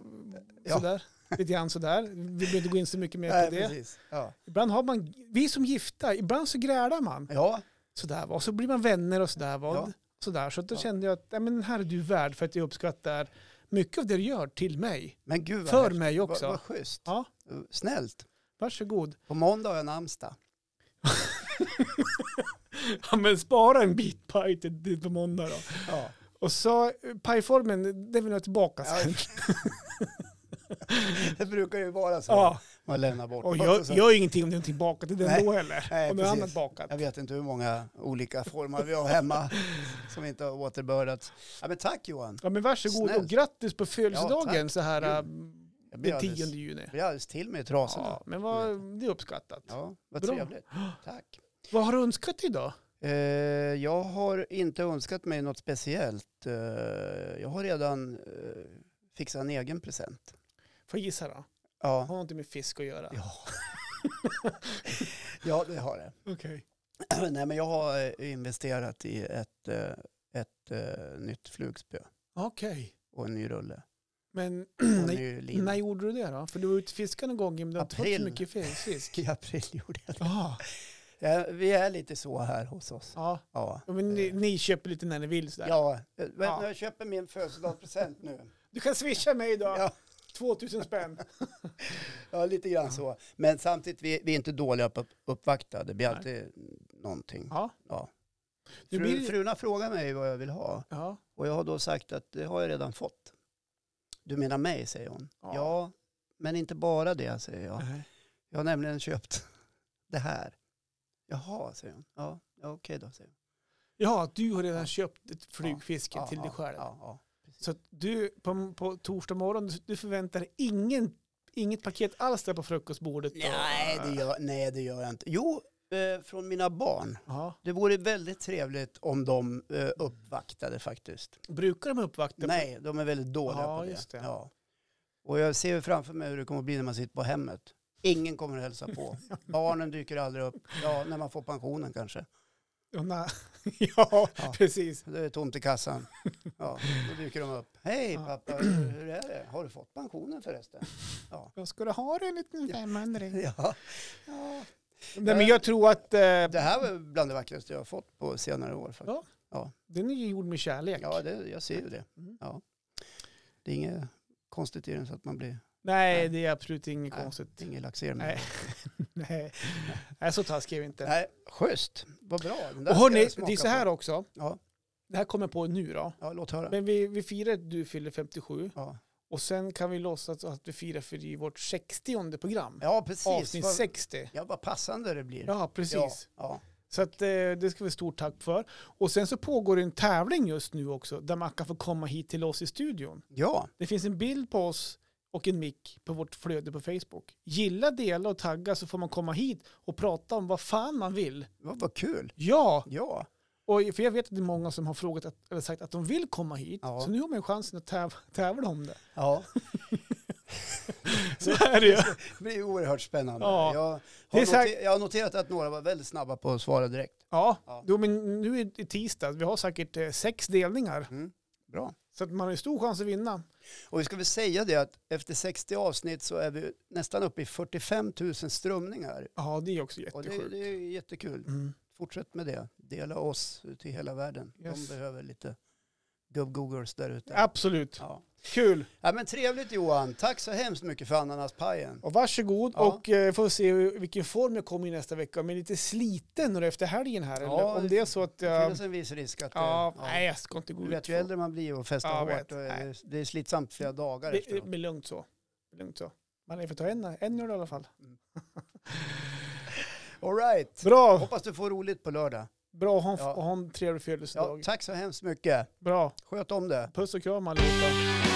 [SPEAKER 2] Ja.
[SPEAKER 1] Sådär. Lite grann sådär. Vi behöver inte gå in så mycket mer
[SPEAKER 2] Nej,
[SPEAKER 1] på det.
[SPEAKER 2] precis. Ja.
[SPEAKER 1] Ibland har man, vi är som gifta, ibland så grälar man.
[SPEAKER 2] ja,
[SPEAKER 1] Sådär va. Och så blir man vänner och sådär va.
[SPEAKER 2] Ja.
[SPEAKER 1] Sådär. Så då
[SPEAKER 2] Ja.
[SPEAKER 1] kände jag att ja, men den här är du värd för att jag uppskattar mycket av det du gör till mig.
[SPEAKER 2] men gud vad
[SPEAKER 1] För
[SPEAKER 2] häftigt.
[SPEAKER 1] mig också.
[SPEAKER 2] Vad, vad schysst.
[SPEAKER 1] Ja.
[SPEAKER 2] Snällt.
[SPEAKER 1] Varsågod.
[SPEAKER 2] På måndag har jag namnsdag.
[SPEAKER 1] Ja, men spara en bit paj till, till på måndag då.
[SPEAKER 2] Ja.
[SPEAKER 1] Och så eh, pajformen, den vill jag tillbaka
[SPEAKER 2] Ja,
[SPEAKER 1] sen.
[SPEAKER 2] Alltså. Det brukar ju vara så.
[SPEAKER 1] Ja,
[SPEAKER 2] Man lämnar bort.
[SPEAKER 1] och
[SPEAKER 2] något
[SPEAKER 1] gör,
[SPEAKER 2] och så-
[SPEAKER 1] gör ingenting om det är någonting bakat i den
[SPEAKER 2] Nej.
[SPEAKER 1] då heller.
[SPEAKER 2] Nej,
[SPEAKER 1] om det är
[SPEAKER 2] precis.
[SPEAKER 1] annat bakat.
[SPEAKER 2] Jag vet inte hur många olika former vi har hemma som inte har återbördats. Ja, men tack Johan.
[SPEAKER 1] Ja, men varsågod och
[SPEAKER 2] Snällt.
[SPEAKER 1] grattis på födelsedagen
[SPEAKER 2] Ja,
[SPEAKER 1] så här eh,
[SPEAKER 2] Jag blir
[SPEAKER 1] den 10
[SPEAKER 2] alldeles,
[SPEAKER 1] juni.
[SPEAKER 2] blir alldeles till mig i trasorna.
[SPEAKER 1] Ja,
[SPEAKER 2] Ja,
[SPEAKER 1] men vad, det är uppskattat.
[SPEAKER 2] vad
[SPEAKER 1] Bra.
[SPEAKER 2] trevligt. Tack.
[SPEAKER 1] Vad har du önskat idag?
[SPEAKER 2] Eh, jag har inte önskat mig något speciellt. Eh, jag har redan eh, fixat en egen present.
[SPEAKER 1] Får jag gissa då?
[SPEAKER 2] Ja,
[SPEAKER 1] Har inte med fisk att göra?
[SPEAKER 2] Ja. ja det har det.
[SPEAKER 1] Okej.
[SPEAKER 2] Nej, men jag har eh, investerat i ett, eh, ett eh, nytt flugspö
[SPEAKER 1] Okej.
[SPEAKER 2] och en ny rulle.
[SPEAKER 1] Men
[SPEAKER 2] Och en
[SPEAKER 1] när,
[SPEAKER 2] ny lina.
[SPEAKER 1] när gjorde du det då? För du var ute och fiskade någon gång men du har inte fått så
[SPEAKER 2] April.
[SPEAKER 1] mycket fisk. fisk.
[SPEAKER 2] I april gjorde jag det.
[SPEAKER 1] Ah,
[SPEAKER 2] Ja, Vi är lite så här hos oss.
[SPEAKER 1] ja.
[SPEAKER 2] Ja.
[SPEAKER 1] Ja, Men ni, ni köper lite när ni vill sådär.
[SPEAKER 2] Ja, eh, men
[SPEAKER 1] Ja.
[SPEAKER 2] jag köper min födelsedagspresent nu.
[SPEAKER 1] Du kan swisha mig idag.
[SPEAKER 2] Ja.
[SPEAKER 1] 2000 spänn.
[SPEAKER 2] Ja, lite grann så. Men samtidigt, vi, vi är inte dåliga på att uppvakta. Det blir
[SPEAKER 1] Nej.
[SPEAKER 2] alltid någonting.
[SPEAKER 1] Ja.
[SPEAKER 2] Ja.
[SPEAKER 1] Nu
[SPEAKER 2] Fru,
[SPEAKER 1] blir det-
[SPEAKER 2] Frun har frågat mig vad jag vill ha
[SPEAKER 1] Ja.
[SPEAKER 2] och jag har då sagt att det har jag redan fått. Du menar mig, säger hon.
[SPEAKER 1] Ja.
[SPEAKER 2] Ja, men inte bara det, säger jag.
[SPEAKER 1] Nej.
[SPEAKER 2] Jag har nämligen köpt det här. Jaha, säger hon. Ja, ja, okej då, säger hon.
[SPEAKER 1] ja, du har redan
[SPEAKER 2] Ja.
[SPEAKER 1] köpt ett flugfiske
[SPEAKER 2] Ja,
[SPEAKER 1] till
[SPEAKER 2] ja,
[SPEAKER 1] dig själv.
[SPEAKER 2] Ja, ja.
[SPEAKER 1] Så att du på, på torsdag morgon, du förväntar dig ingen, inget paket alls där på frukostbordet? och-
[SPEAKER 2] Nej, det gör, nej, det gör jag inte. Jo, eh, från mina barn.
[SPEAKER 1] Ja.
[SPEAKER 2] Det vore väldigt trevligt om de eh, uppvaktade faktiskt.
[SPEAKER 1] Brukar de uppvakta?
[SPEAKER 2] Nej, de är väldigt dåliga
[SPEAKER 1] Ja,
[SPEAKER 2] på det.
[SPEAKER 1] just det.
[SPEAKER 2] Ja. Och jag ser ju framför mig hur det kommer att bli när man sitter på hemmet. Ingen kommer att hälsa på. Barnen dyker aldrig upp. Ja, när man får pensionen kanske.
[SPEAKER 1] Ja, nej. ja,
[SPEAKER 2] Ja.
[SPEAKER 1] precis.
[SPEAKER 2] Det är tomt i kassan. Ja, då dyker de upp. Hej
[SPEAKER 1] Ja.
[SPEAKER 2] pappa, hur är det? Har du fått pensionen förresten?
[SPEAKER 1] Jag ska du ha en liten femhundring?
[SPEAKER 2] Ja. ja.
[SPEAKER 1] Nej, men jag tror att eh,
[SPEAKER 2] Det här var bland det vackraste jag har fått på senare år. Faktiskt.
[SPEAKER 1] den är ju gjord med kärlek.
[SPEAKER 2] Ja, det, jag ser ju det.
[SPEAKER 1] Mm.
[SPEAKER 2] Ja. Det är inget konstigt i den så att man blir,
[SPEAKER 1] Nej,
[SPEAKER 2] Nej.
[SPEAKER 1] det är absolut inget
[SPEAKER 2] Nej.
[SPEAKER 1] konstigt.
[SPEAKER 2] det är inget laxer med.
[SPEAKER 1] Nej. Nej. Nej, så taskig är vi inte.
[SPEAKER 2] Nej, schysst. Vad bra. Den där
[SPEAKER 1] Och
[SPEAKER 2] ska
[SPEAKER 1] hörni,
[SPEAKER 2] jag smaka
[SPEAKER 1] det är så här
[SPEAKER 2] på.
[SPEAKER 1] också.
[SPEAKER 2] Ja.
[SPEAKER 1] Det här kommer jag på nu då.
[SPEAKER 2] Ja, låt höra.
[SPEAKER 1] Men vi, vi firar att du fyller 57
[SPEAKER 2] Ja,
[SPEAKER 1] och sen kan vi låtsas att vi firar för i vårt 60 program.
[SPEAKER 2] ja precis.
[SPEAKER 1] Avsnitt
[SPEAKER 2] Vad,
[SPEAKER 1] 60.
[SPEAKER 2] ja, vad passande det blir.
[SPEAKER 1] Ja, precis.
[SPEAKER 2] Ja,
[SPEAKER 1] Så att, eh, det ska vi stort tack för. Och sen så pågår det en tävling just nu också där man kan få komma hit till oss i studion.
[SPEAKER 2] ja.
[SPEAKER 1] Det finns en bild på oss och en mick på vårt flöde på Facebook. Gilla, dela och tagga så får man komma hit och prata om vad fan man vill.
[SPEAKER 2] Vad, vad kul.
[SPEAKER 1] Ja,
[SPEAKER 2] Ja,
[SPEAKER 1] och för jag vet att det är många som har frågat att, eller sagt att de vill komma hit.
[SPEAKER 2] Ja.
[SPEAKER 1] Så nu har man ju chansen att täv tävla om det.
[SPEAKER 2] ja.
[SPEAKER 1] Så är det ju.
[SPEAKER 2] det blir oerhört spännande.
[SPEAKER 1] Ja.
[SPEAKER 2] Jag, har
[SPEAKER 1] Det är så här-
[SPEAKER 2] noter, jag har noterat att några var väldigt snabba på att svara direkt.
[SPEAKER 1] Ja,
[SPEAKER 2] Ja.
[SPEAKER 1] Jo, men nu är det tisdag. Vi har säkert eh, sex delningar.
[SPEAKER 2] Bra.
[SPEAKER 1] Så att man har ju stor chans att vinna.
[SPEAKER 2] Och vi ska väl säga det att efter 60 avsnitt så är vi nästan uppe i 45 000 strömningar.
[SPEAKER 1] Ja, det är också
[SPEAKER 2] Och det,
[SPEAKER 1] jättesjukt.
[SPEAKER 2] det är jättekul.
[SPEAKER 1] Mm.
[SPEAKER 2] Fortsätt med det. Dela oss till hela världen.
[SPEAKER 1] Yes.
[SPEAKER 2] De behöver lite gubb-googles där ute.
[SPEAKER 1] Absolut.
[SPEAKER 2] Ja.
[SPEAKER 1] Kul.
[SPEAKER 2] Ja, men trevligt Johan. Tack så hemskt mycket för ananaspajen.
[SPEAKER 1] Och varsågod
[SPEAKER 2] Ja.
[SPEAKER 1] och eh, får se hur- vilken form jag kommer i nästa vecka. Om jag är lite sliten nu efter helgen här.
[SPEAKER 2] Ja,
[SPEAKER 1] eller om det är så att
[SPEAKER 2] Det
[SPEAKER 1] jag...
[SPEAKER 2] finns en viss risk att...
[SPEAKER 1] eh, ja,
[SPEAKER 2] eh,
[SPEAKER 1] nej, jag ska inte gå
[SPEAKER 2] Du
[SPEAKER 1] ut.
[SPEAKER 2] vet, ju
[SPEAKER 1] så.
[SPEAKER 2] äldre man blir och festar
[SPEAKER 1] Ja, jag vet.
[SPEAKER 2] hårt, och det, det är slitsamt flera dagar
[SPEAKER 1] det, det
[SPEAKER 2] efteråt.
[SPEAKER 1] blir lugnt så. Det blir Lugnt så. Man är för ta en, en ur i alla fall.
[SPEAKER 2] All right.
[SPEAKER 1] Bra,
[SPEAKER 2] Hoppas du får roligt på lördag.
[SPEAKER 1] bra och ha en,
[SPEAKER 2] Ja.
[SPEAKER 1] och ha en trevlig
[SPEAKER 2] Ja,
[SPEAKER 1] födelsedag.
[SPEAKER 2] tack så hemskt mycket.
[SPEAKER 1] bra,
[SPEAKER 2] Sköt om det.
[SPEAKER 1] puss och kram allihopa.